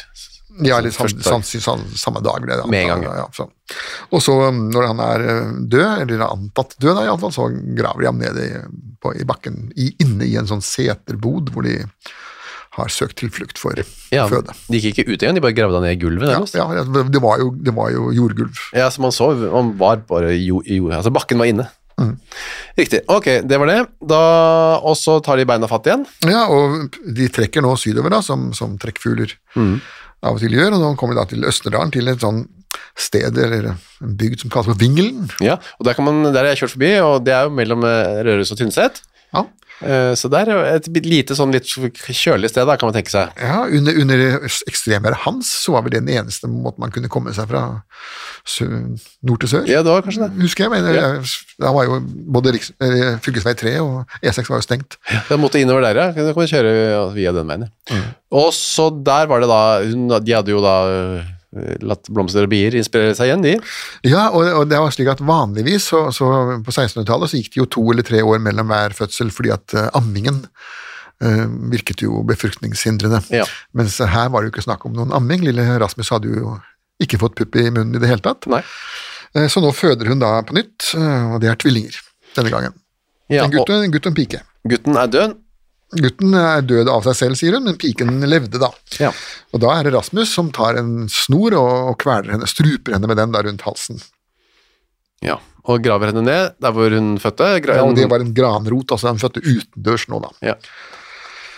C: Ja, sånn, eller sam,
B: første
C: sam,
B: dag.
C: sam, samme dag. Ble det,
B: Med en
C: antatt,
B: gang,
C: Ja, sånn. Og så, um, når han er eh, død, eller antatt død, da, i alle fall, så graver de ham ned i, på, i bakken, i, inne i en sånn seterbod hvor de har søkt tilflukt for
B: Ja,
C: føde.
B: De gikk ikke ut engang, de bare gravde han ned i gulvet.
C: Ja,
B: nærmest.
C: ja, det, var jo, det var jo jordgulv.
B: Ja, så man så, man var bare jo, jo, altså bakken var inne. Riktig, ok, det var det. Da, og så tar de beina fatt igjen.
C: Ja, og de trekker nå sydover, da, som, som trekkfugler av og til gjør. Og nå kommer de da til Østerdalen, til et sånn sted eller en bygd som kalles for Vingelen.
B: Ja, og der, kan man, der har jeg kjørt forbi, og det er jo mellom eh, Røros og Tynset.
C: Ja,
B: Eh, Så der er jo et bit- lite sånn litt kjølig sted, da, kan man tenke seg.
C: Ja, under, under ekstremværet hans så var vel det den eneste måten man kunne komme seg fra sø, nord til sør.
B: Ja, det var kanskje det.
C: Husker jeg, men eh,
B: Ja.
C: da var jo både riks, eh, fylkesvei 3 og E6 var jo stengt.
B: Da måtte jeg innover der, ja. Mm. Da kan vi kjøre via den veien. ja. Og så der var det da hun, De hadde jo da eh, latt blomster og bier inspirere seg igjen, de.
C: Ja, og, og det var slik at vanligvis så, så på 1600-tallet så gikk det jo to eller tre år mellom hver fødsel fordi at eh, ammingen eh, virket jo befruktningshindrende.
B: Ja.
C: Mens her var det jo ikke snakk om noen amming. Lille Rasmus hadde jo ikke fått pupp i munnen i det hele tatt.
B: Nei.
C: Eh, Så nå føder hun da på nytt, eh, og det er tvillinger denne gangen.
B: Ja,
C: en, gutt,
B: og
C: og en gutt og en pike.
B: gutten er død.
C: Gutten er død av seg selv, sier hun, men piken levde da.
B: Ja.
C: Og da er det Rasmus som tar en snor og, og kveler henne, struper henne med den da rundt halsen.
B: ja. Og graver henne ned der hvor hun fødte. Gra
C: og det var en granrot, altså han fødte utendørs nå da.
B: ja.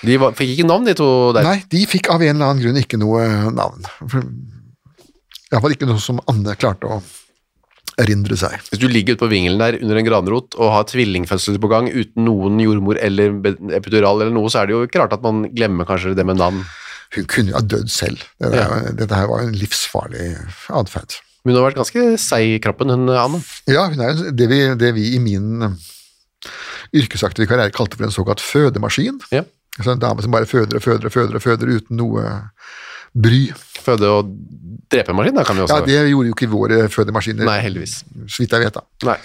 B: De var, fikk ikke navn, de to der.
C: Nei, de fikk av en eller annen grunn ikke noe eh, navn. Iallfall ikke noe som Anne klarte å erindre seg.
B: Hvis du ligger ute på vingelen der under en granrot og har tvillingfødsel på gang uten noen jordmor eller be- epidural eller noe, så er det jo ikke rart at man glemmer kanskje det med navn.
C: Hun kunne jo ha dødd selv. Dette,
B: Ja.
C: dette her var jo en livsfarlig atferd.
B: Men hun har vært ganske seig i kroppen, hun Anne.
C: Ja, hun er jo det vi, det vi i min eh, yrkesaktive karriere kalte for en såkalt fødemaskin.
B: Ja.
C: Altså en dame som bare føder og føder og føder og føder uten noe bry.
B: Føde- og drepemaskin, da kan vi også
C: Ja, Det gjorde jo ikke våre fødemaskiner,
B: Altså- Nei, heldigvis.
C: så vidt jeg vet. da.
B: Nei.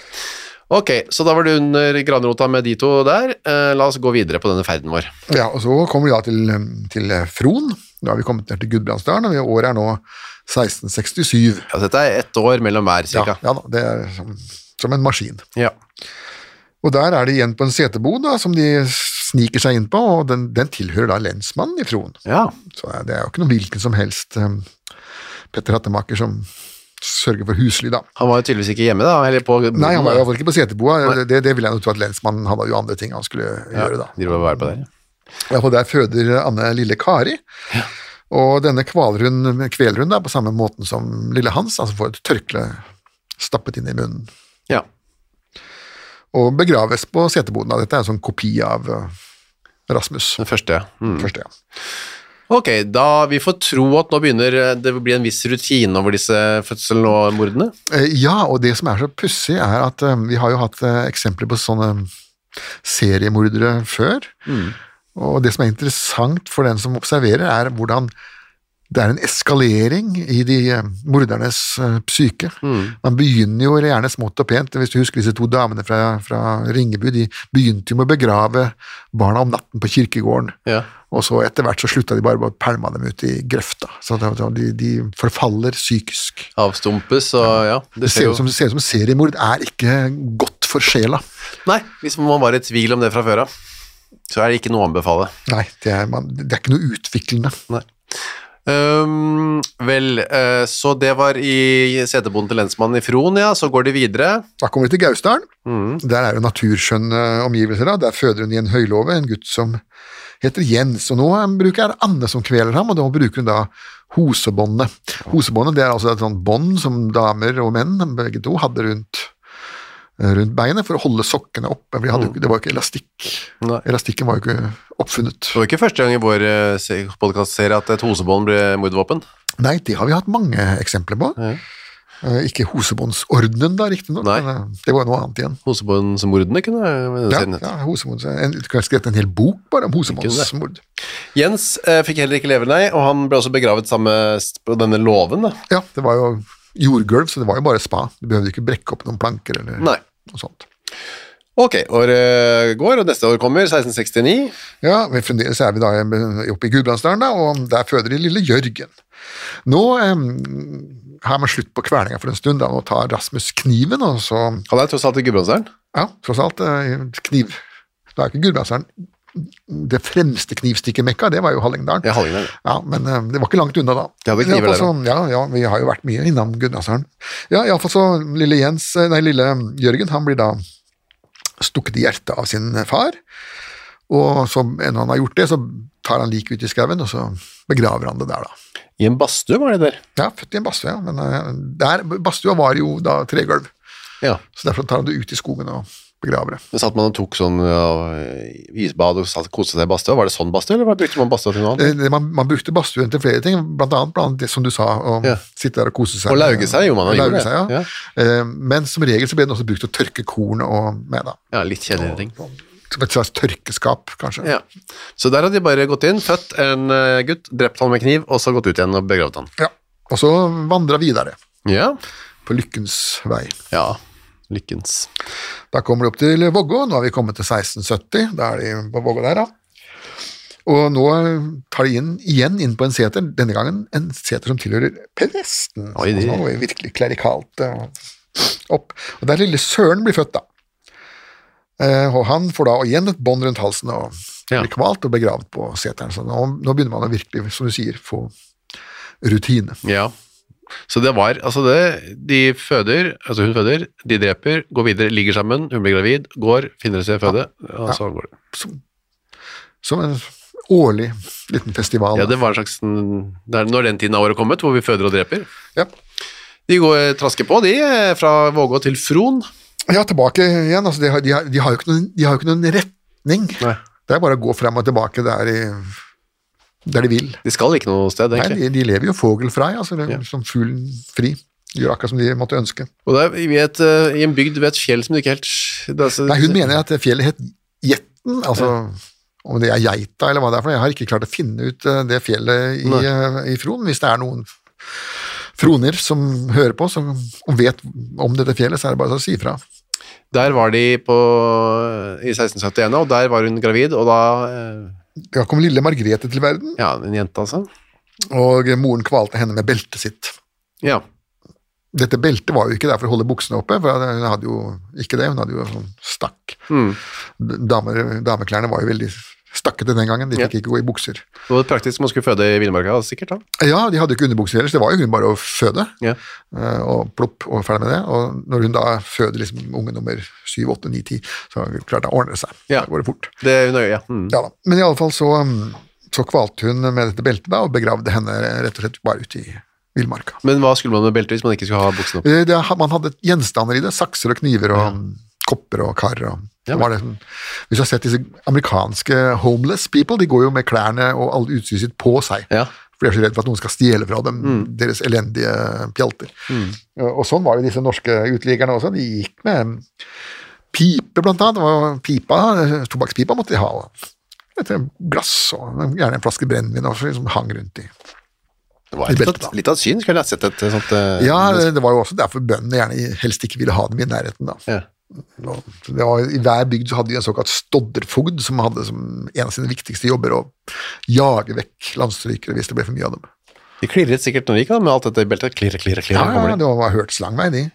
B: Ok, så da var det under granrota med de to der. Eh, la oss gå videre på denne ferden vår.
C: Ja, og Så kommer vi da til, eh, til eh, Fron. Nå har vi kommet ned til Gudbrandsdalen, og vi- året er nå 1667.
B: Altså, dette er ett år mellom hver,
C: Ja,
B: cirka.
C: ja da, Det er som, som en maskin.
B: Ja.
C: Og Der er det igjen på en setebod da, som de sniker seg inn på, og den, den tilhører da lensmannen i Fron.
B: Ja.
C: Så eh, det er jo ikke noe hvilken som helst um, Petter Hattemaker som sørger for husly, da.
B: Han var jo tydeligvis ikke hjemme, da. Eller på
C: Nei, han var i hvert fall ikke på seteboa. Det, det vil jeg nå tro at lensmannen hadde jo andre ting han skulle gjøre, da.
B: De var bare på der. ja.
C: I hvert fall der føder Anne lille Kari. Og denne kvaler hun, kveler hun da, på samme måten som lille Hans, altså får et tørkle stappet inn i munnen.
B: Ja.
C: Og begraves på seteboden. da. Dette er en sånn kopi av uh, Rasmus.
B: Den første, ja. Mm.
C: Første, ja.
B: Ok, da vi får tro at nå begynner eh, det å bli en viss rutine over disse fødslene og mordene.
C: Eh, Ja, og det som er så pussig, er at eh, vi har jo hatt eh, eksempler på sånne seriemordere eh, før. Og det som er interessant for den som observerer, er hvordan det er en eskalering i de eh, mordernes eh, psyke. Man begynner jo gjerne smått og pent. Hvis du husker disse to damene fra, fra Ringebu, de begynte jo med å begrave barna om natten på kirkegården.
B: Ja.
C: Og så etter hvert så slutta de bare med å pælma dem ut i grøfta. Så det- de, de forfaller psykisk.
B: Avstumpes og ja.
C: Det ser
B: jo-
C: ut som, ser ut som seriemord er ikke godt for sjela.
B: Nei, hvis man var i tvil om det fra før av, så er det ikke noe å anbefale.
C: Nei, det er, man, det er ikke noe utviklende.
B: Ehm, vel, eh, så det var i setebonden til lensmannen i Fron, ja. Så går de videre.
C: Da kommer vi til Gausdalen. Der er jo naturskjønne omgivelser. Da. Der føder hun i en høylåve en gutt som heter Jens, og nå eh, bruker er Anne som kveler ham, og da bruker hun da hosebåndet. Hosebåndet det er altså et sånt bånd som damer og menn, begge to, hadde rundt eh, rundt beinet for å holde sokkene oppe. for de hadde jo ikke- Det var jo ikke elastikk.
B: Nei.
C: Elastikken var jo ikke oppfunnet.
B: Det var ikke første gang i vår podkastserie at et hosebånd ble mordvåpen.
C: Nei, det har vi hatt mange eksempler på. Eh, Ikke hosebåndsordenen, da, riktignok.
B: Nei.
C: men, eh, Det var jo noe annet igjen.
B: Hosebåndsmordene kunne eh, jeg
C: Ja,
B: serien hett.
C: ja, hosebånds, en, du kunne skrevet en hel bok bare om hosebåndsmord.
B: Jens eh, fikk heller ikke leve, nei, og han ble også begravet sammen med s- på denne låven. da.
C: Ja, det var jo jordgulv, så det var jo bare spa. Du behøvde ikke brekke opp noen planker eller
B: Nei.
C: noe sånt.
B: Ok, året eh, går, og neste år kommer, 1669.
C: Ja, men fremdeles er vi da eh, oppe i Gudbrandsdalen, da, og der føder de lille Jørgen. Nå eh, har man slutt på kvelinga for en stund, da. Nå tar Rasmus kniven, og så
B: Han er tross alt i Gudbrandsdalen.
C: Ja, tross alt. eh, Kniv. Da er ikke Gudbrandsdalen det fremste knivstikkemekka, det var jo Hallingdalen.
B: Ja, Hallingdal.
C: Ja, men eh, det var ikke langt unna da.
B: De hadde kniver
C: I alle fall
B: der
C: så- Ja, ja, vi har jo vært mye innom Gudbrandsdalen. Ja, iallfall så lille Jens, eh, nei, lille Jørgen, han blir da stukket i hjertet av sin far. Og så, når han har gjort det, så tar han liket ut i skauen, og så begraver han det der, da.
B: I en badstue var det der.
C: Ja, født i en badstue, ja. Men eh, der, badstua var jo da tregulv,
B: Ja.
C: så derfor tar han det ut i skogen og begraver det.
B: Men satt man og tok sånn ja, isbad og satt, koste seg i badstua? Var det sånn badstue, eller hva brukte man badstua til noe annet?
C: Eh, Det- det- Man, man brukte badstuen til flere ting, blant annet, blant annet det som du sa, å
B: Ja.
C: sitte der og kose seg.
B: Og lauge seg, jo, man har
C: Og
B: gjort
C: lauge
B: det.
C: seg, ja. Eh, Men som regel så ble den også brukt til å tørke korn og med, da.
B: Ja, litt kjedeligere ting.
C: Som et slags tørkeskap, kanskje.
B: Ja. Så der hadde de bare gått inn, født en eh, gutt, drept han med kniv, og så gått ut igjen og begravd han.
C: Ja. Og så vandra videre
B: Ja.
C: på lykkens vei.
B: Ja. Lykkens.
C: Da kommer de opp til Vågå, nå har vi kommet til 1670, da er de på Vågå der, da. Og nå tar de inn, igjen inn på en seter, denne gangen en seter som tilhører presten.
B: Oi, de-
C: Så nå er vi virkelig klerikalt eh, opp. Og der lille Søren blir født, da. Eh, og han får da igjen et bånd rundt halsen og
B: Ja.
C: blir kvalt og begravd på seteren. Så nå, nå begynner man å virkelig, som du sier, få rutine.
B: Ja. Så det var altså det De føder, altså hun føder, de dreper, går videre, ligger sammen, hun blir gravid, går, finner et sted å føde, og så går det.
C: Som en årlig liten festival.
B: Ja, det var en slags det er Når den tiden av året er kommet, hvor vi føder og dreper.
C: Ja.
B: De går trasker på, de, eh, fra Vågå til Fron.
C: Ja, tilbake igjen. Altså, de, har, de, har, de, har jo ikke noen, de har jo ikke noen retning.
B: Nei.
C: Det er bare å gå frem og tilbake der, i, der de vil.
B: De skal ikke noe sted,
C: Nei,
B: egentlig.
C: de, de lever jo fogelfrei, altså, det er
B: Ja.
C: som fuglen fri. Gjør akkurat som de måtte ønske.
B: Og det er i et, eh, i en bygd ved et fjell som du ikke helt det er så,
C: Nei, hun mener at fjellet het Jetten, altså om det er geita eller hva det er for noe. Jeg har ikke klart å finne ut eh, det fjellet i,
B: Nei.
C: eh, i Fron. Hvis det er noen froner som hører på som, og vet om dette fjellet, så er det bare å si ifra.
B: Der var de på, i 1671, og der var hun gravid, og da eh,
C: Da kom lille Margrethe til verden,
B: Ja, en jente, altså.
C: og moren kvalte henne med beltet sitt.
B: Ja.
C: Dette beltet var jo ikke der for å holde buksene oppe, for hun hadde jo ikke det, hun hadde jo sånn stakk.
B: Mm.
C: Damer, dameklærne var jo veldig stakkete den gangen, de
B: Ja.
C: fikk ikke gå i bukser.
B: Det var praktisk man skulle føde i villmarka, sikkert. da.
C: Ja, de hadde jo ikke underbukser ellers, det var jo hun bare å føde,
B: Ja.
C: eh, og plopp, og ferdig med det. Og når hun da føder liksom unge nummer 7, 8, 9, 10, så klart det ordner det seg.
B: Ja.
C: Da går det fort.
B: Det er nøye, ja. Mm.
C: Ja da. Men i alle fall så, mm, så kvalte hun med dette beltet da, og begravde henne rett og slett bare ute i villmarka.
B: Men hva skulle man med belte hvis man ikke skulle ha buksene opp?
C: Eh, Det, man hadde gjenstander i det. Sakser og kniver og kopper og kar. Og,
B: Ja,
C: det var det, sånn- hvis du har sett disse amerikanske homeless people, de går jo med klærne og all utstyret sitt på seg.
B: Ja.
C: For de er så redd for at noen skal stjele fra dem deres elendige pjalter. Og- Og sånn var det disse norske uteliggerne også. De gikk med pipe, blant annet. Og pipa, eh, tobakkspipa måtte de ha. et glass og gjerne en flaske brennevin og så liksom hang rundt i.
B: Det var litt, av- litt av et syn, skulle jeg sett et sånt eh,
C: Ja, det det var jo også derfor bøndene gjerne helst ikke ville ha dem i nærheten, da.
B: ja.
C: Og Det var, I hver bygd så hadde de en såkalt stodderfogd, som hadde som en av sine viktigste jobber å jage vekk landstrykere hvis det ble for mye av dem.
B: De klirret sikkert når de gikk da, med alt dette i beltet. Klirre, klirre, klirre.
C: Ja,
B: kommer
C: ja,
B: de.
C: det var hørtes lang vei, de.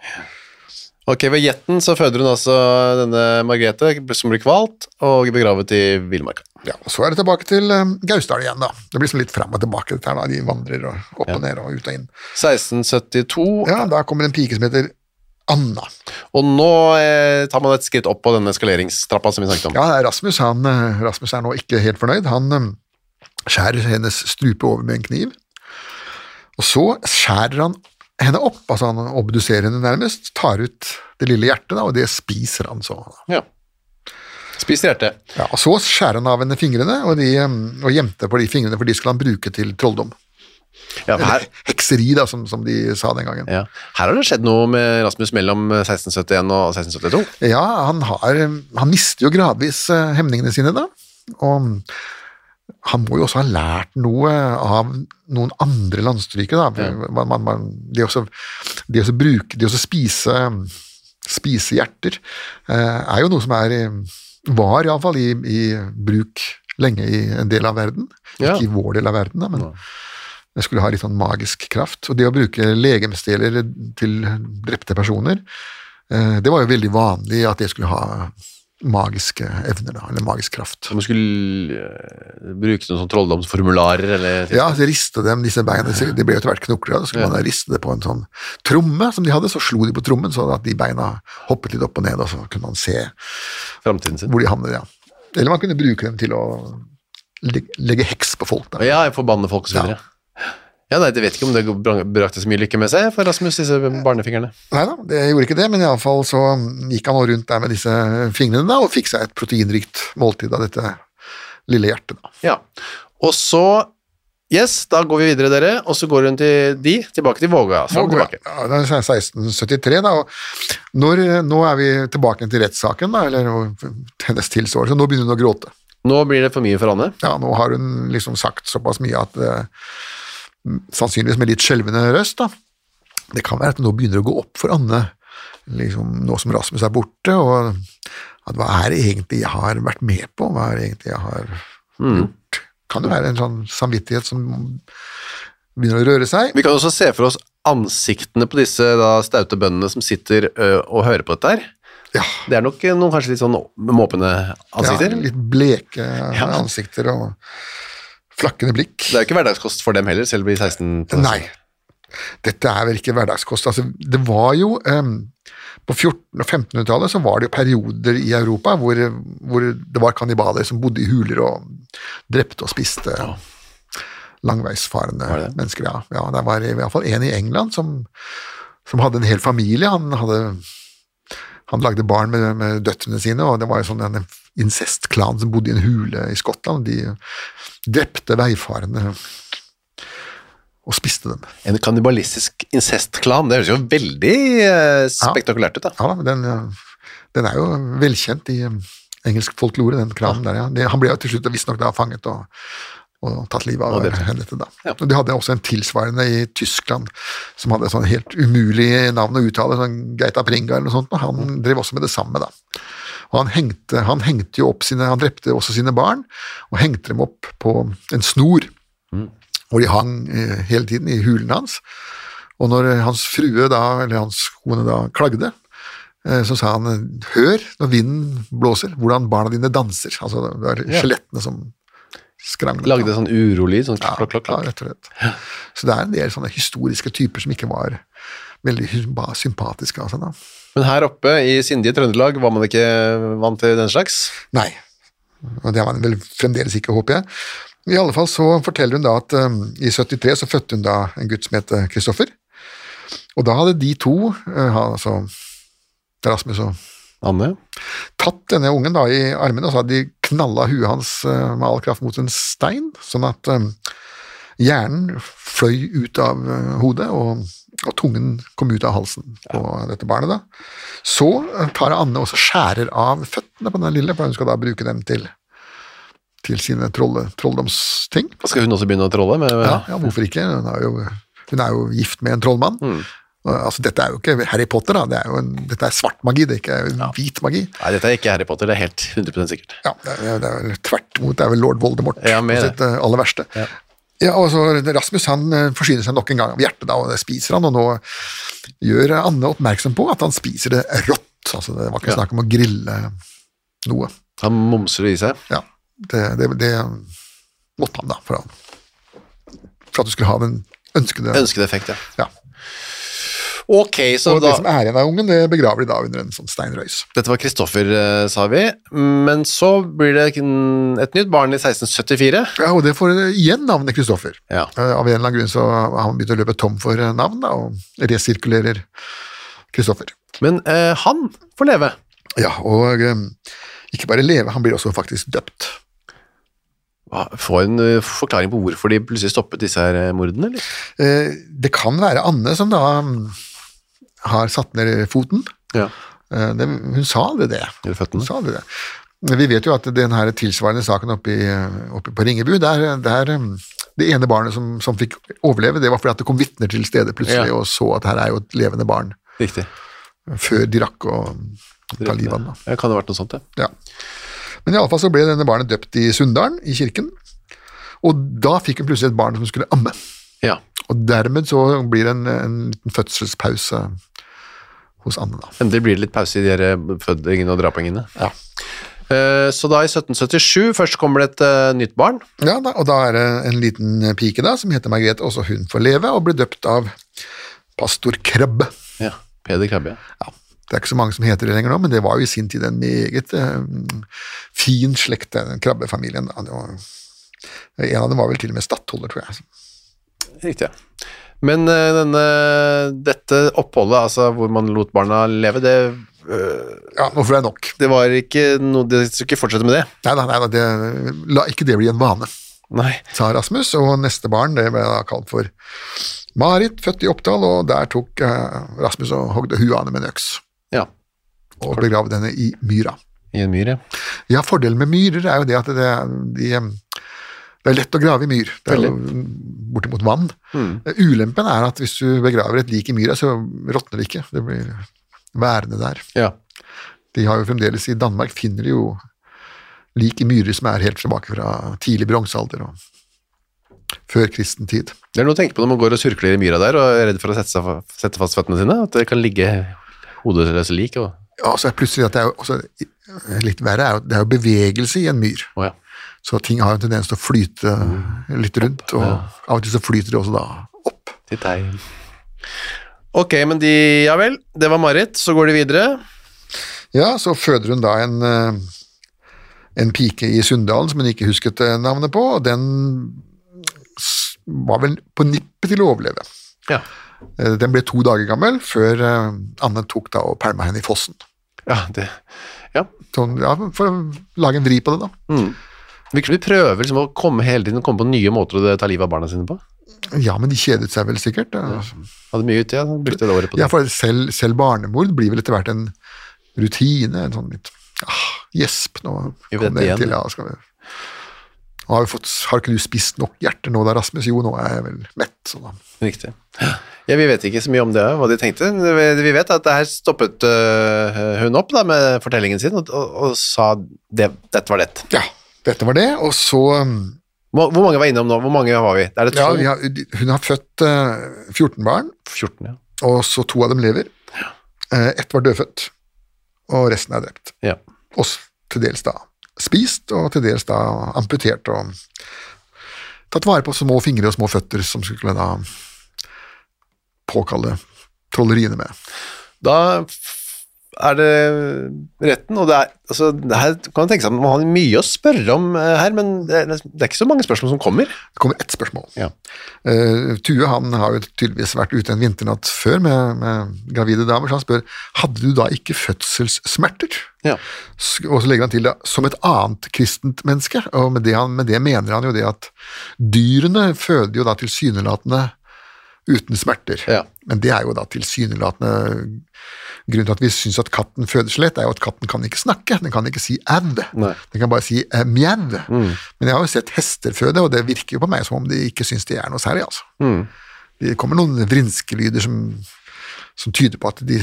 B: Ok, ved Jetten så føder hun altså denne Margrethe, som blir kvalt, og begravet i Villmarka.
C: Ja, og Så er det tilbake til um, Gausdal igjen, da. Det blir sånn litt fram og tilbake, dette her, da. De vandrer og opp og ned og ut og inn.
B: 1672,
C: Ja, Da kommer en pike som heter Anna.
B: og nå eh, tar man et skritt opp på denne skaleringstrappa som vi snakket om.
C: Ja, Rasmus, han, eh, Rasmus er nå ikke helt fornøyd. Han eh, skjærer hennes strupe over med en kniv, og så skjærer han henne opp, altså han obduserer henne nærmest, tar ut det lille hjertet, da, og det spiser han så. Da.
B: Ja. Spiser hjertet.
C: Ja, og Så skjærer han av henne fingrene, og, de, eh, og gjemte på de fingrene, for de skulle han bruke til trolldom.
B: Ja, for her,
C: Eller hekseri, da, som, som de sa den gangen.
B: ja. her har det skjedd noe med Rasmus mellom 1671 og 1672.
C: Ja, han, har, han mister jo gradvis eh, hemningene sine da, og han må jo også ha lært noe av noen andre landstrykere. Da. Man, man, man, det også, det også bruke, det også spise, spise hjerter eh, er jo noe som er, eh, var iallfall i, i bruk lenge i en del av verden.
B: Ja.
C: Ikke i vår del av verden, da, men det skulle ha litt sånn magisk kraft. Og det å bruke legemsdeler til drepte personer, eh, det var jo veldig vanlig at det skulle ha magiske evner, da, eller magisk kraft.
B: Som skulle eh, bruke noen sånn trolldomsformularer eller
C: Ja, så riste dem disse beina, så de ble jo etter hvert knokler, da skulle man riste det på en sånn tromme som de hadde, så slo de på trommen så at de beina hoppet litt opp og ned, og så kunne man se
B: framtiden sin.
C: hvor de havnet, ja. Eller man kunne bruke dem til å leg- legge heks på folk, da.
B: Ja, forbanne folk og så videre. Ja, nei, jeg vet ikke om det brang- brakte så mye lykke med seg for Rasmus, disse barnefingrene.
C: Neida, det gjorde ikke det, men iallfall så gikk han nå rundt der med disse fingrene da, og fikk seg et proteinrikt måltid av dette lille hjertet, da.
B: Ja. Og så Yes, da går vi videre, dere, og så går hun til de, tilbake til Våga. Fram og tilbake.
C: Ja, det er 1673, da. Og når, nå er vi tilbake til rettssaken, da, eller og hennes tilståelse. Nå begynner hun å gråte.
B: Nå blir det for mye for Anne.
C: Ja, nå har hun liksom sagt såpass mye at eh, Sannsynligvis med litt skjelvende røst, da. Det kan være at nå begynner det å gå opp for Anne, liksom nå som Rasmus er borte, og at hva er det egentlig jeg har vært med på, hva er det egentlig jeg har
B: Mm.
C: gjort? Kan det være en sånn samvittighet som begynner å røre seg?
B: Vi kan også se for oss ansiktene på disse da, staute bøndene som sitter ø, og hører på dette her.
C: Ja.
B: Det er nok noen kanskje litt sånn måpende ansikter.
C: Ja, litt bleke
B: Ja.
C: ansikter og flakkende blikk.
B: Det er jo ikke hverdagskost for dem heller, selv i 16...
C: Nei, dette er vel ikke hverdagskost. Altså, det var jo em, På 1400- og 1500-tallet så var det jo perioder i Europa hvor, hvor det var kannibaler som bodde i huler og drepte og spiste langveisfarende mennesker. Ja. ja, det var i hvert fall en i England som, som hadde en hel familie. Han hadde han lagde barn med, med døtrene sine, og det var jo sånn en incestklan som bodde i en hule i Skottland. De drepte veifarende og spiste dem.
B: En kannibalistisk incestklan, det høres jo veldig ø, spektakulært ut da.
C: Ja, da, men den, eh, den er jo velkjent i eh, engelsk folklore, den kranen der, ja. Det, han ble jo til slutt visstnok da fanget og, og tatt livet av
B: Og drept.
C: henne etter da.
B: Ja.
C: Og de hadde også en tilsvarende i Tyskland som hadde sånn helt umulig navn å uttale, sånn Geita Pringa eller noe sånt,
B: Mm.
C: og han drev også med det samme da. Og han hengte, han hengte jo opp sine, han drepte også sine barn, og hengte dem opp på en snor, hvor de hang eh, hele tiden i hulen hans. Og når eh, hans frue da, eller hans kone da, klagde, eh, så sa han, hør når vinden blåser, hvordan barna dine danser. Altså, det var skjelettene som skranglet.
B: Lagde sånn urolyd, sånn
C: Ja,
B: klokk, klokk, klokk.
C: Ja, rett og slett. Så det er en del sånne historiske typer som ikke var veldig hymba- sympatiske. Altså, da.
B: Men her oppe i sindige Trøndelag var man ikke vant til den slags.
C: Nei, og det er man vel fremdeles ikke, håper jeg. I alle fall så forteller hun da at um, i 73 så fødte hun da en gutt som het eh, Kristoffer, og da hadde de to, eh, han- altså Rasmus og
B: Anne?
C: tatt denne ungen da i armene, og så hadde de knalla huet hans eh, med all kraft mot en stein, sånn at eh, hjernen fløy ut av eh, hodet, og, og tungen kom ut av halsen på dette barnet. da. Så eh, tar Anne og så skjærer av føttene på den lille, for hun skal da bruke dem til til sine trolle, trolldomsting.
B: Skal hun også begynne å trolle? Med,
C: Ja, ja, hvorfor ikke? Hun er, jo, hun er jo gift med en trollmann. Og, Altså, dette er jo ikke Harry Potter, da. Det er jo en, dette er svart magi, det er ikke hvit magi.
B: Nei, dette er ikke Harry Potter, det er helt 100 sikkert.
C: Ja, det er, det er vel tvert imot, det er vel lord Voldemort
B: Ja, med
C: på
B: det.
C: sitt eh, aller verste. Ja. og så Rasmus han eh, forsyner seg nok en gang av hjertet, da, og det spiser han, og nå gjør Anne oppmerksom på at han spiser det rått. Altså, det var ikke snakk om å grille noe.
B: Han mumser det i seg.
C: Ja, det, det, det måtte han da, for, han, for at du skulle ha den ønskede
B: Ønsket effekt, ja.
C: Ja.
B: Ok, så
C: Og det
B: da
C: som er igjen av ungen, det begraver de da under en sånn steinrøys.
B: Dette var Kristoffer, eh, sa vi. Men så blir det kn- et nytt barn i 1674.
C: Ja, og det får eh, igjen navnet Kristoffer.
B: Ja.
C: Eh, Av en eller annen grunn så har han begynt å løpe tom for eh, navn, da, og resirkulerer Kristoffer.
B: Men eh, han får leve.
C: Ja, og eh, ikke bare leve, han blir også faktisk døpt.
B: Hva- Få en eh, forklaring på hvorfor de plutselig stoppet disse her eh, mordene, eller?
C: Eh, Det kan være Anne som da mm, har satt ned foten.
B: Ja.
C: Eh, det, hun sa aldri det.
B: Eller
C: Hun
B: føttene.
C: sa aldri det. Men vi vet jo at den her tilsvarende saken oppe, i, eh, oppe på Ringebu, der, der eh, det ene barnet som, som fikk overleve, det var fordi at det kom vitner til stedet plutselig
B: Ja.
C: og så at her er jo et levende barn, eh,
B: Riktig.
C: før de rakk å mm, ta livet av den. da.
B: Ja, kan det ha vært noe sånt, ja.
C: Ja. Men iallfall så ble denne barnet døpt i Sunndalen, i kirken. Og da fikk hun plutselig et barn som skulle amme.
B: ja.
C: Og dermed så blir det en, en liten fødselspause hos Anne, da.
B: Endelig blir det litt pause i de her fødingene og drapingene. Eh, Så da i 1777, først kommer det et eh, nytt barn.
C: Ja, da, Og da er det en liten pike da, som heter Margrethe, også hun får leve, og blir døpt av pastor Krabbe.
B: Ja, Peder Krabbe. ja.
C: Ja, det er ikke så mange som heter det lenger nå, men det var jo i sin tid en meget eh, fin slekt, den krabbefamilien. da. Det var- En av dem var vel til og med stattholder, tror jeg.
B: Riktig, ja. Men eh, denne, dette oppholdet, altså hvor man lot barna leve, det,
C: Ja, nå får jeg nok.
B: det var ikke noe De skulle ikke fortsette med det.
C: Nei, nei, nei, nei det, la ikke det bli en vane,
B: Nei.
C: sa Rasmus, og neste barn det ble da kalt for Marit, født i Oppdal, og der tok eh, Rasmus og hogde huet av henne med en øks,
B: Ja.
C: og begravde henne i myra.
B: I en myr, ja.
C: Ja, fordelen med myrer er jo det at det, de, eh, det er lett å grave i myr. Det er Mm. jo bortimot vann. Eh, Ulempen er at hvis du begraver et lik i myra, så råtner det ikke. Det blir værende der.
B: ja.
C: De har jo fremdeles I Danmark finner de jo lik i myrer som er helt tilbake fra tidlig bronsealder og før kristen tid.
B: Det er noe å tenke på når man går og surkler i myra der og er redd for å sette, seg, fa- sette fast føttene sine. At det kan ligge hodeløse lik. Og,
C: Ja, og så er plutselig at det er jo også, Litt verre er jo at det er jo bevegelse i en myr.
B: å, ja.
C: Så ting har jo en tendens til å flyte litt rundt, og av og til så flyter de også da opp.
B: Til deg. Ok, men de Ja vel. Det var Marit. Så går de videre.
C: Ja, så føder hun da en, eh, en pike i Sunndalen som hun ikke husket eh, navnet på, og den s- var vel på nippet til å overleve.
B: Ja.
C: Eh, Den ble to dager gammel før eh, Anne tok da og pælma henne i fossen.
B: ja, det Ja.
C: Sånn, ja, for å lage en vri på det, da.
B: Virker som de prøver liksom, å komme hele tiden komme på nye måter å ta livet av barna sine på.
C: Ja, men de kjedet seg vel sikkert. eh.
B: Hadde mye uti, ja. Brukte det året på det.
C: Ja, for selv, selv barnemord blir vel etter hvert en rutine, en sånn litt ah, gjesp nå.
B: Vi
C: kom
B: vet
C: det en
B: igjen.
C: til, ja, skal vi. Har, vi fått, har ikke du spist nok hjerter nå da, Rasmus? Jo, nå er jeg vel mett. Så da.
B: Riktig. Ja, vi vet ikke så mye om det, hva de tenkte. Vi vet at det her stoppet øh, hun opp da, med fortellingen sin og, og, og sa det, dette var det.
C: Ja, dette var det. Og så um,
B: Hvor hvor mange var innom nå? Hvor mange var vi? Er det
C: ja,
B: to?
C: vi har, Hun har født eh, 14 barn,
B: 14, ja.
C: og så to av dem lever. Eh, Ett var dødfødt, og resten er drept.
B: ja.
C: Og s- til dels da spist, og til dels da amputert og tatt vare på små fingre og små føtter som skulle da påkalle trolleriene med.
B: Da f- er det retten, og det er altså, det her kan man tenke seg at man har mye å spørre om eh, her, men det er, det er ikke så mange spørsmål som kommer.
C: Det kommer ett spørsmål.
B: Ja.
C: Eh, Tue han har jo tydeligvis vært ute en vinternatt før med, med gravide damer, så han spør hadde du da ikke fødselssmerter.
B: Ja.
C: S- Og så legger han til da, som et annet kristent menneske, og med det, han, med det mener han jo det at dyrene føder jo da tilsynelatende uten smerter.
B: Ja.
C: Men det er jo da tilsynelatende Grunnen til at vi syns at katten føder skjelett, er jo at katten kan ikke snakke. Den kan ikke si au.
B: Nei. Mm.
C: Den kan bare si eh, mjau. Men jeg har jo sett hester føde, og det virker jo på meg som om de ikke syns de er noe særlig, altså.
B: Mm.
C: Det kommer noen vrinskelyder som, som tyder på at de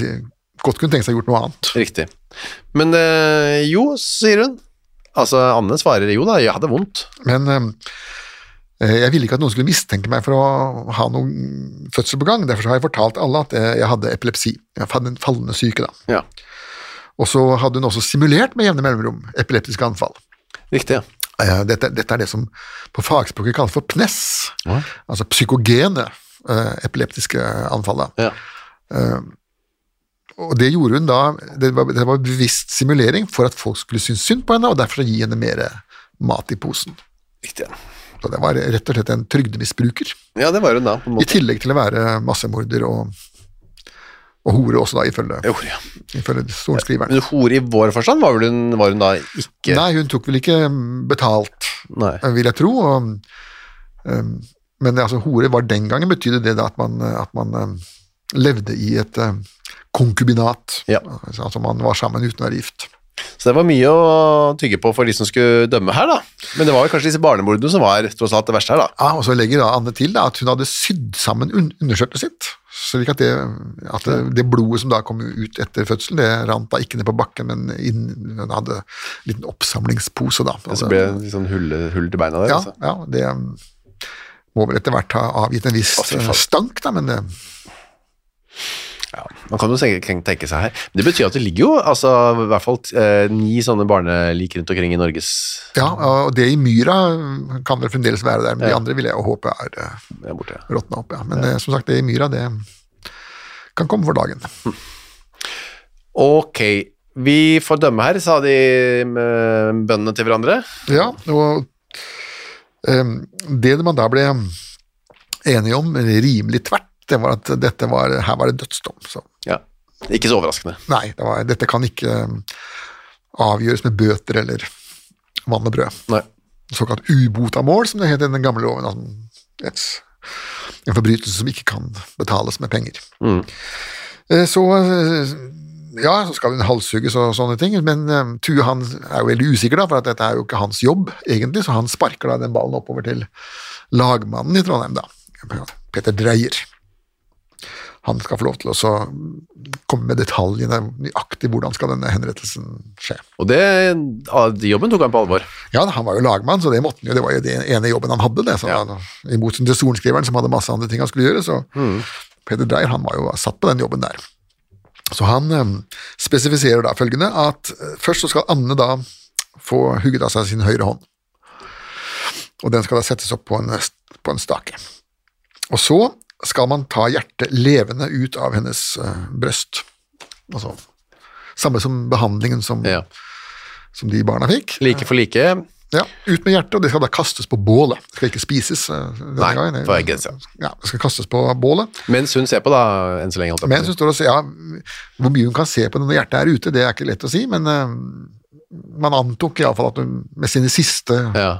C: godt kunne tenkt seg gjort noe annet.
B: Riktig. Men eh, jo, sier hun. Altså, Anne svarer jo da, jeg hadde vondt.
C: Men eh, jeg ville ikke at noen skulle mistenke meg for å ha noen fødsel på gang, derfor så har jeg fortalt alle at eh, jeg hadde epilepsi. Jeg hadde en fallende syke, da.
B: Ja,
C: Og så hadde hun også simulert med jevne mellomrom epileptiske anfall.
B: riktig. ja.
C: Eh, Dette, dette er det som på fagspråket kalles for PNES, altså psykogene eh, epileptiske anfall. Da.
B: Ja.
C: Og det gjorde hun da, det var, det var bevisst simulering for at folk skulle synes synd på henne, og derfor gi henne mer mat i posen.
B: Riktig. ja.
C: Så det var rett og slett en trygdemisbruker,
B: Ja, det var hun da, på en
C: i
B: måte.
C: tillegg til å være massemorder og, og hore også, da, ifølge,
B: Jo, ja.
C: ifølge sorenskriveren.
B: Men hore i vår forstand var, vel hun, var hun da ikke
C: Nei, hun tok vel ikke mm, betalt, eh,
B: Nei.
C: vil jeg tro. Og, um, men altså, hore var den gangen betydde det da at man, at man um, levde i et um, konkubinat.
B: Ja.
C: Altså man var sammen uten å være gift.
B: Så det var mye å tygge på for de som skulle dømme her, da. Men det var jo kanskje disse barnemordene som var tross alt det verste her, da.
C: Ja, og så legger da Anne til da, at hun hadde sydd sammen un underskjørtet sitt. Slik at, det, at det, det blodet som da kom ut etter fødsel, det rant da ikke ned på bakken, men inn, hun hadde en liten oppsamlingspose da.
B: Og så ble det litt sånn hull, hull til beina der.
C: Altså. Ja,
B: altså.
C: ja det um, må vel etter hvert ha avgitt en viss
B: Å, fy faen.
C: uh, stank, da, men det,
B: Ja. Man kan jo tenke, tenke seg her. Men det betyr at det ligger jo altså, i hvert fall eh, ni sånne barnelik rundt omkring i Norges
C: ja, og det i myra um, kan vel fremdeles være der, men de andre vil jeg jo håpe er uh,
B: ja, borte. ja.
C: råtna opp. Ja. Men uh, som sagt, det i myra, det kan komme for dagen.
B: Ok, vi får dømme her, sa de eh, bøndene til hverandre.
C: Ja, og um, det man da ble enige om, eller rimelig tvert, det var at dette var, her var det dødsdom. Så.
B: Ja. Ikke så overraskende.
C: Nei, det var, dette kan ikke um, avgjøres med bøter eller vann og brød.
B: Nei.
C: såkalt ubotamål, som det het i den gamle loven. Altså et, en forbrytelse som ikke kan betales med penger. Eh, Så eh, ja, så skal hun halshugges og sånne ting, men eh, Tue han er jo veldig usikker, da, for at dette er jo ikke hans jobb, egentlig, så han sparker da den ballen oppover til lagmannen i Trondheim, da, Peter Dreyer. Han skal få lov til å så komme med detaljene, nøyaktig hvordan skal denne henrettelsen skje.
B: Og det, ah, de jobben tok han på alvor.
C: Ja, han var jo lagmann, så det måtte han jo. Det var jo den ene jobben han hadde. det. Så han, I motsetning til sorenskriveren, som hadde masse andre ting han skulle gjøre. så Peter Dreyer han var jo satt på den jobben der. Så han eh, spesifiserer da følgende at eh, først så skal Anne da få hugget av seg sin høyre hånd. Og den skal da settes opp på en, på en stake. Og så skal man ta hjertet levende ut av hennes eh, brøst. Altså, samme som behandlingen som,
B: Ja.
C: som de barna fikk.
B: Like for like.
C: Ja, Ut med hjertet, og det skal da kastes på bålet. Det skal ikke spises. eh, denne
B: Nei,
C: gangen. Det-
B: for jeg grenser.
C: Ja, det skal kastes på bålet.
B: Mens hun ser på, da, enn så lenge. holdt jeg på å
C: Mens
B: si.
C: hun står og ser, ja, Hvor mye hun kan se på når hjertet er ute, det er ikke lett å si, men eh, man antok iallfall at hun med sine siste
B: Ja.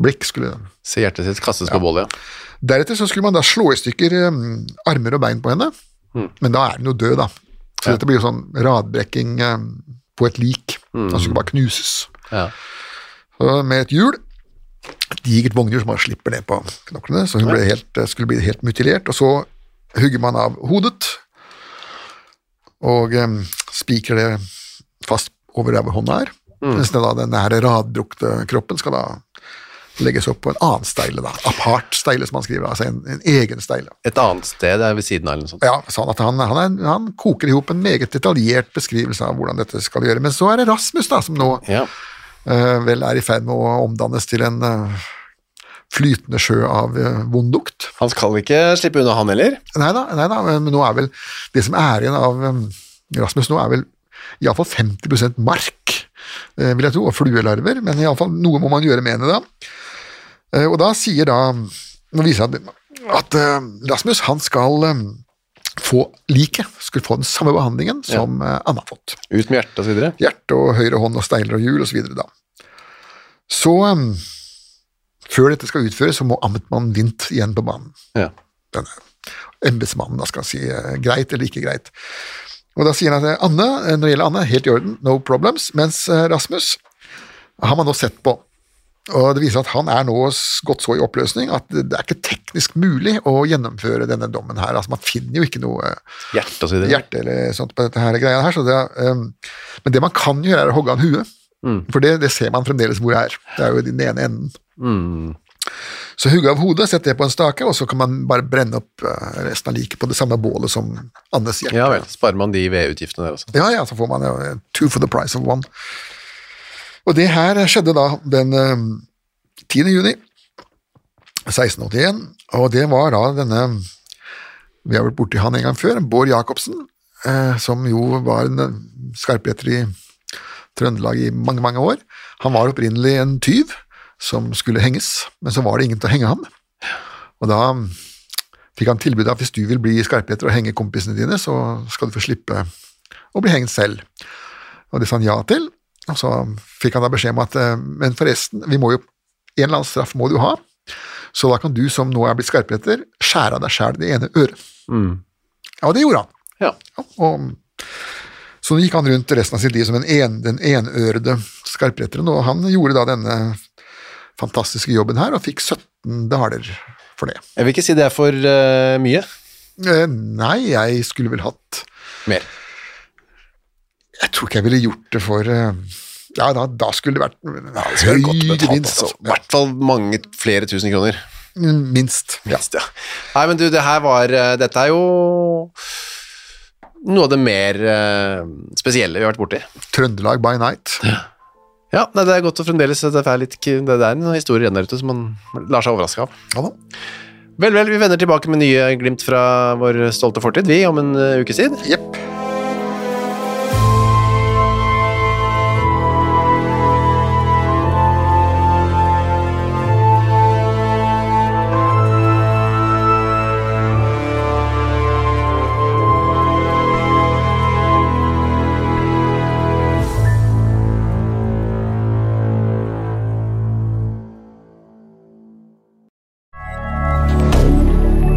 C: blikk skulle
B: Se hjertet sitt kastes på bålet. ja.
C: Deretter så skulle man da slå i stykker eh, armer og bein på henne,
B: Hmm.
C: men da er hun jo død, da. Så dette blir jo sånn radbrekking eh, på et lik.
B: Hmm.
C: Han skulle bare knuses.
B: Ja.
C: Så med et hjul, et digert vognhjul som man slipper ned på knoklene, så hun ble helt, skulle bli helt mutilert. Og så hugger man av hodet og eh, spiker det fast over der hvor hånda er. Mens den da, denne her radbrukte kroppen skal da legges opp på en annen steile, da. apart steile, som han skriver. Altså en, en egen steile.
B: Et annet sted er ved siden av, eller noe sånt.
C: Ja, sa han at han, han, er, han koker i hop en meget detaljert beskrivelse av hvordan dette skal gjøres. Men så er det Rasmus, da, som nå
B: Ja.
C: eh, vel er i ferd med å omdannes til en eh, flytende sjø av eh, vond lukt.
B: Han skal ikke slippe unna, han heller.
C: Nei da, nei da, men nå er vel det som er igjen av eh, Rasmus nå, er vel iallfall 50 mark, eh, vil jeg tro, og fluelarver, men iallfall noe må man gjøre med henne da. Eh, Og da sier da Nå viser han at eh, Rasmus han skal eh, få liket, skulle få den samme behandlingen som eh, Anna har fått
B: Ut med hjertet og så videre.
C: hjerte og høyre hånd og steiler og hjul osv. da. Så um, før dette skal utføres, så må Amtmann Vint igjen på banen.
B: Ja.
C: denne embetsmannen da skal si eh, greit eller ikke greit. Og da sier han at eh, Anne, eh, når det gjelder Anne, helt i orden, no problems, mens eh, Rasmus har man nå sett på. Og det viser at han er nå s- gått så i oppløsning at det det er ikke teknisk mulig å gjennomføre denne dommen her. Altså, man finner jo ikke noe eh,
B: Hjerte og så videre.
C: hjerte eller sånt på dette her greia her. Så det, er, um, men det man kan gjøre, er å hogge av en hue. For det, det ser man fremdeles hvor er. Det er jo i den ene enden. Så hugge av hodet, sett det på en stake, og så kan man bare brenne opp eh, resten av liket på det samme bålet som Annes hjerte.
B: Ja vel. Sparer man de vedutgiftene der også?
C: Ja, ja, så får man jo eh, two for the price of one. Og det her skjedde da den eh, 10. juni 1681, og det var da denne Vi har vært borti han en gang før, Bård Jacobsen, eh, som jo var en eh, skarpretter i Trøndelag i mange, mange år. Han var opprinnelig en tyv som skulle henges, men så var det ingen til å henge ham. Og da mm, fikk han tilbud av hvis du vil bli skarpretter og henge kompisene dine, så skal du få slippe og bli hengt selv. Og det sa han ja til, og så fikk han da beskjed om at eh, men forresten, vi må jo, en eller annen straff må du ha, så da kan du som nå er blitt skarpretter, skjære av deg sjæl det ene øret. Ja, og det gjorde han.
B: Ja.
C: Ja, og, så gikk han rundt resten av sitt liv som en en, den enørede skarpretteren, og han gjorde da denne fantastiske jobben her, og fikk 17 daler for det.
B: Jeg vil ikke si det er for eh, mye.
C: Eh, Nei, jeg skulle vel hatt
B: Mer.
C: Jeg tror ikke jeg ville gjort det for eh, Ja, da, da skulle det vært ja,
B: Det skal være godt betalt, altså. I
C: Ja,
B: hvert fall mange flere tusen kroner.
C: minst. Ja.
B: Minst, ja. Nei, men du, det her var eh, Dette er jo noe av det mer eh, spesielle vi har vært borti.
C: Trøndelag by night.
B: Ja, nei, det er godt å fremdeles Det er, litt, k- det er en historie igjen der ute som man lar seg overraske av.
C: Ja da.
B: Vel, vel, vi vender tilbake med nye glimt fra vår stolte fortid, vi, om en eh, ukes tid.
C: Jepp.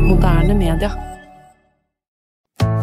D: Moderne media.